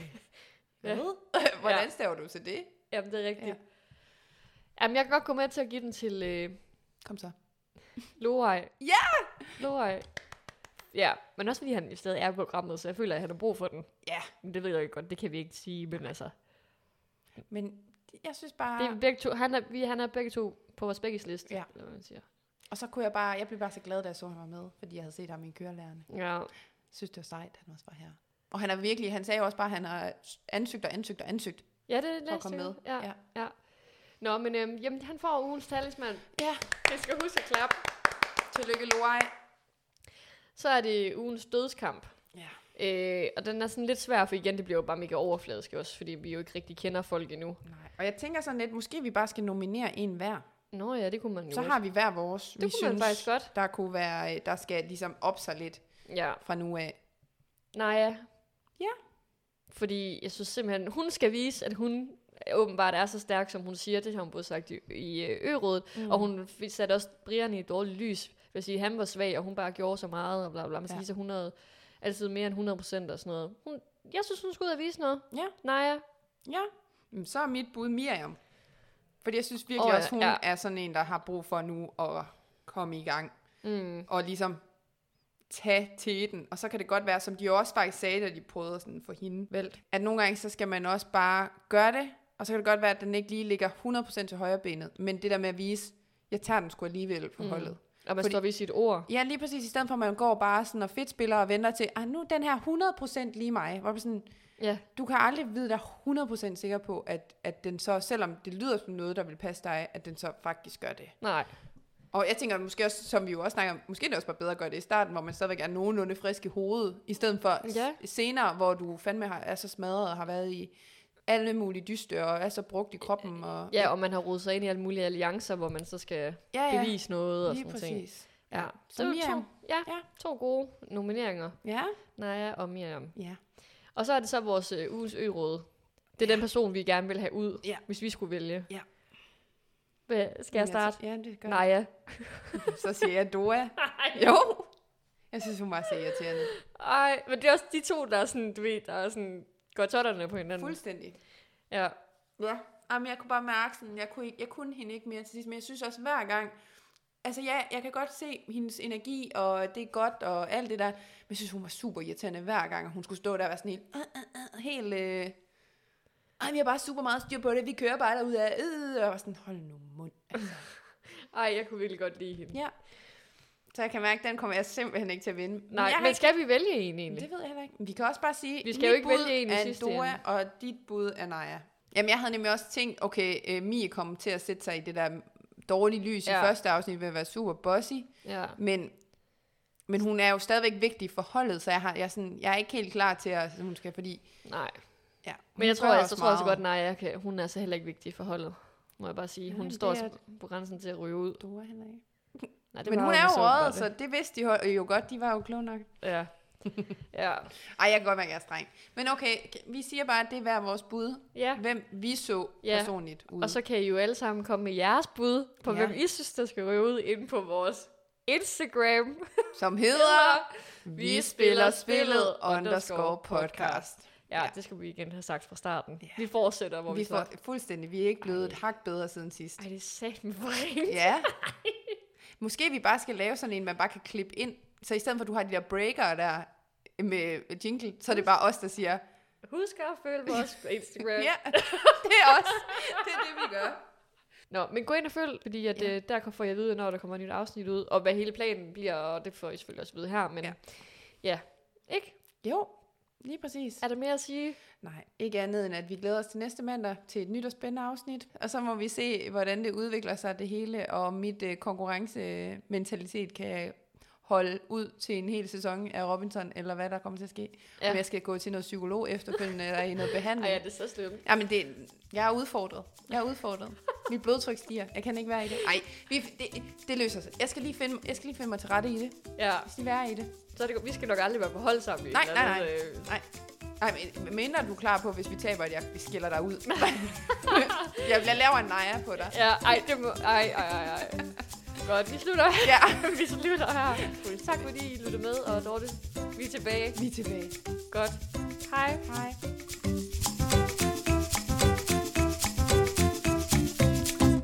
A: Ja.
B: hvad? Hvordan
A: Ja.
B: staver du til det?
A: Jamen, det er rigtigt.
B: Ja.
A: Ja. Jamen, jeg kan godt gå med til at give den til øh,
B: Kom så.
A: Lorej.
B: Ja!
A: Lorej. Ja, men også fordi han stadig er på programmet, så jeg føler, at han har brug for den.
B: Ja,
A: Men det ved jeg ikke godt, det kan vi ikke sige, men altså...
B: men jeg synes bare...
A: Det er begge to, han, er, vi, han er begge to på vores begges liste,
B: Ah. Ja.
A: eller hvad man siger.
B: Og så kunne jeg bare, jeg blev bare så glad, da jeg så, at han var med, fordi jeg havde set ham i kørelærerne.
A: Ja.
B: Jeg synes, det var sejt, at han også var her. Og han er virkelig, han sagde jo også bare, at han har ansøgt og ansøgt og ansøgt
A: Ja, det er
B: for at
A: næste
B: komme med.
A: uge. Ja.
B: ja.
A: Nå, men øhm, jamen, han får ugens talisman.
B: ja.
A: Jeg skal huske at klappe.
B: Tillykke, Loai.
A: Så er det ugens dødskamp.
B: Ja.
A: Øh, og den er sådan lidt svær, for igen, det bliver jo bare mega overfladisk også, fordi vi jo ikke rigtig kender folk endnu.
B: Nej. Og jeg tænker sådan lidt, måske vi bare skal nominere en hver.
A: Nå ja, det kunne man jo
B: Så
A: også.
B: har vi hver vores.
A: Det kunne man faktisk godt.
B: der kunne være, øh, der skal ligesom op sig lidt
A: Ja.
B: fra nu af.
A: Naja.
B: Ja.
A: Fordi jeg synes simpelthen, hun skal vise, at hun åbenbart er så stærk, som hun siger. Det har hun både sagt i, i øh, ø-rådet. Mm. Og hun f- satte også Brian i et dårligt lys. Det vil sige, han var svag, og hun bare gjorde så meget, og bla bla, bla. Man skal
B: Ja.
A: vise 100, altid mere end 100 procent og sådan noget. Hun, jeg synes, hun skulle ud og vise noget.
B: Ja.
A: Naja.
B: Ja. Jamen, Så er mit bud Miriam. Fordi jeg synes virkelig
A: Åh,
B: oh,
A: ja,
B: også, hun
A: ja.
B: ja. er sådan en, der har brug for nu at komme i gang.
A: Mm.
B: Og ligesom tage teten. Og så kan det godt være, som de jo også faktisk sagde, da de prøvede sådan for hende, vel, at nogle gange, så skal man også bare gøre det, og så kan det godt være, at den ikke lige ligger 100% til højre benet, men det der med at vise, jeg tager den sgu alligevel på
A: Mm.
B: holdet.
A: Og man
B: Fordi-
A: står ved sit ord.
B: Ja, lige præcis. I stedet for, at man går bare sådan og fedt spiller og venter til, ah, nu er den her 100% lige mig. Hvor man sådan,
A: Ja.
B: du kan aldrig vide dig 100% sikker på, at, at den så, selvom det lyder som noget, der vil passe dig, at den så faktisk gør det.
A: Nej.
B: Og jeg tænker måske også, som vi jo også snakker om, måske er det også bare bedre at gøre det i starten, hvor man stadigvæk er nogenlunde frisk i hovedet, i stedet for
A: Ja.
B: s- senere, hvor du fandme har, er så smadret og har været i alle mulige dyster og er så brugt i kroppen. Og,
A: Ja, og man har rodet sig ind i alle mulige alliancer, hvor man så skal
B: ja,
A: ja. bevise noget og
B: lige
A: sådan ting.
B: præcis.
A: Ja. Så,
B: Så
A: så to,
B: Miriam.
A: ja,
B: Ja.
A: to gode nomineringer.
B: Ja,
A: Naja og Miriam.
B: ja.
A: Og så er det så vores øh, ugens ø-råd. Det er den person, vi gerne vil have ud,
B: Ja.
A: hvis vi skulle vælge.
B: Ja.
A: Hvad, skal jeg starte?
B: Ja, det gør
A: Naja.
B: Så siger jeg Dora. Jo. Jeg synes, hun var så irriterende.
A: Ej, men det er også de to, der er sådan, du ved, der er sådan, går totterne på hinanden.
B: Fuldstændig.
A: Ja.
B: Ja. Jamen, jeg kunne bare mærke sådan, jeg kunne, ikke, jeg kunne hende ikke mere til sidst, men jeg synes også hver gang, altså ja, jeg kan godt se hendes energi, og det er godt, og alt det der, men jeg synes, hun var super irriterende hver gang, og hun skulle stå der og være sådan helt, øh, øh, øh, helt, øh, ej, vi har bare super meget styr på det, vi kører bare derud af, øh, og jeg var sådan, hold nu mund.
A: Ej, jeg kunne virkelig godt lide hende.
B: Ja. Så jeg kan mærke, den kommer jeg simpelthen ikke til at vinde. Men
A: Nej,
B: jeg har
A: men, men skal vi vælge en
B: Men
A: egentlig?
B: Det ved jeg heller ikke. Vi kan også bare sige,
A: Vi skal
B: mit
A: jo ikke
B: bud
A: vælge en i
B: er
A: sidste
B: Dora,
A: ende.
B: og dit bud er Naja. Jamen, jeg havde nemlig også tænkt, okay, øh, Mie kommer til at sætte sig i det der dårlige lys ja.
A: Ja.
B: i første afsnit ved at være super bossy,
A: Ja.
B: men, men hun er jo stadigvæk vigtig for holdet, så jeg, har, jeg, er sådan, jeg er ikke helt klar til, at altså, hun skal, fordi...
A: Nej.
B: Ja,
A: Men jeg tror,
B: gør
A: jeg, så tror jeg også
B: meget.
A: godt, nej, kan, hun er så heller ikke vigtig for holdet. Må jeg bare sige. Hun
B: Nej,
A: står
B: det er-
A: også på grænsen til at ryge ud.
B: Dora heller ikke.
A: Nej,
B: Men
A: var
B: hun er jo
A: åbenbart det.
B: røget, så det vidste de jo- jo godt, de var jo kloge nok.
A: Ja. ja.
B: Ej, jeg kan godt mærke, at jeg er streng. Men okay, vi siger bare, at det er hver vores bud.
A: Ja.
B: Hvem vi så
A: Ja.
B: personligt ud.
A: Og så kan I jo alle sammen komme med jeres bud på,
B: Ja.
A: ja. hvem I synes, der skal ryge ud inde på vores Instagram.
B: som hedder... Vi spiller spillet underscore podcast.
A: Ja,
B: Ja.
A: det skal vi igen have sagt fra starten.
B: Ja.
A: Vi fortsætter, hvor vi,
B: Vi
A: vi
B: får
A: så...
B: fuldstændig, vi er ikke blevet et hak bedre siden sidst.
A: Ej, det er satme for ringt.
B: Ja. Måske vi bare skal lave sådan en, man bare kan klippe ind. Så i stedet for, at du har de der breaker der med jingle, så er det bare os, der siger,
A: Husk at følge vores på Instagram.
B: ja, det er os. Det er det, vi gør.
A: Nå, men gå ind og følg, fordi at,
B: Ja.
A: ja. øh, der får jeg at vide, når der kommer et nyt afsnit ud, og hvad hele planen bliver, og det får I selvfølgelig også at vide her. Men
B: Ja.
A: ja. ja. Ikke?
B: Jo, lige præcis.
A: Er der mere at sige?
B: Nej, ikke andet end, at vi glæder os til næste mandag til et nyt og spændende afsnit. Og så må vi se, hvordan det udvikler sig det hele, og om mit øh, konkurrencementalitet kan holde ud til en hel sæson af Robinson, eller hvad der kommer til at ske. Ja.
A: Ja.
B: Om jeg skal gå til noget psykolog efterfølgende, eller i noget
A: Ej,
B: behandling.
A: ja,
B: Ja,
A: det er så slemt.
B: Jamen, det, jeg er udfordret. Jeg er udfordret. Mit blodtryk stiger. Jeg kan ikke være i det. Nej, det, det løser sig. Jeg skal, lige finde, jeg skal lige finde mig til rette i det.
A: Ja,
B: Jeg skal lige være i det.
A: så er det, godt. vi skal nok aldrig være på hold sammen. i et
B: Nej,
A: eller
B: nej,
A: andet, øh,
B: Nej. Nej, men mindre du er klar på, hvis vi taber, at jeg skiller dig ud. jeg bliver laver en nejer på dig.
A: Ja, ej, det må... Ej, ej, ej, ej. Godt, vi slutter,
B: Ja.
A: vi slutter her. Tak fordi I lyttede med, og Dorte, vi er tilbage.
B: Vi er tilbage.
A: Godt. Hej.
B: Hej.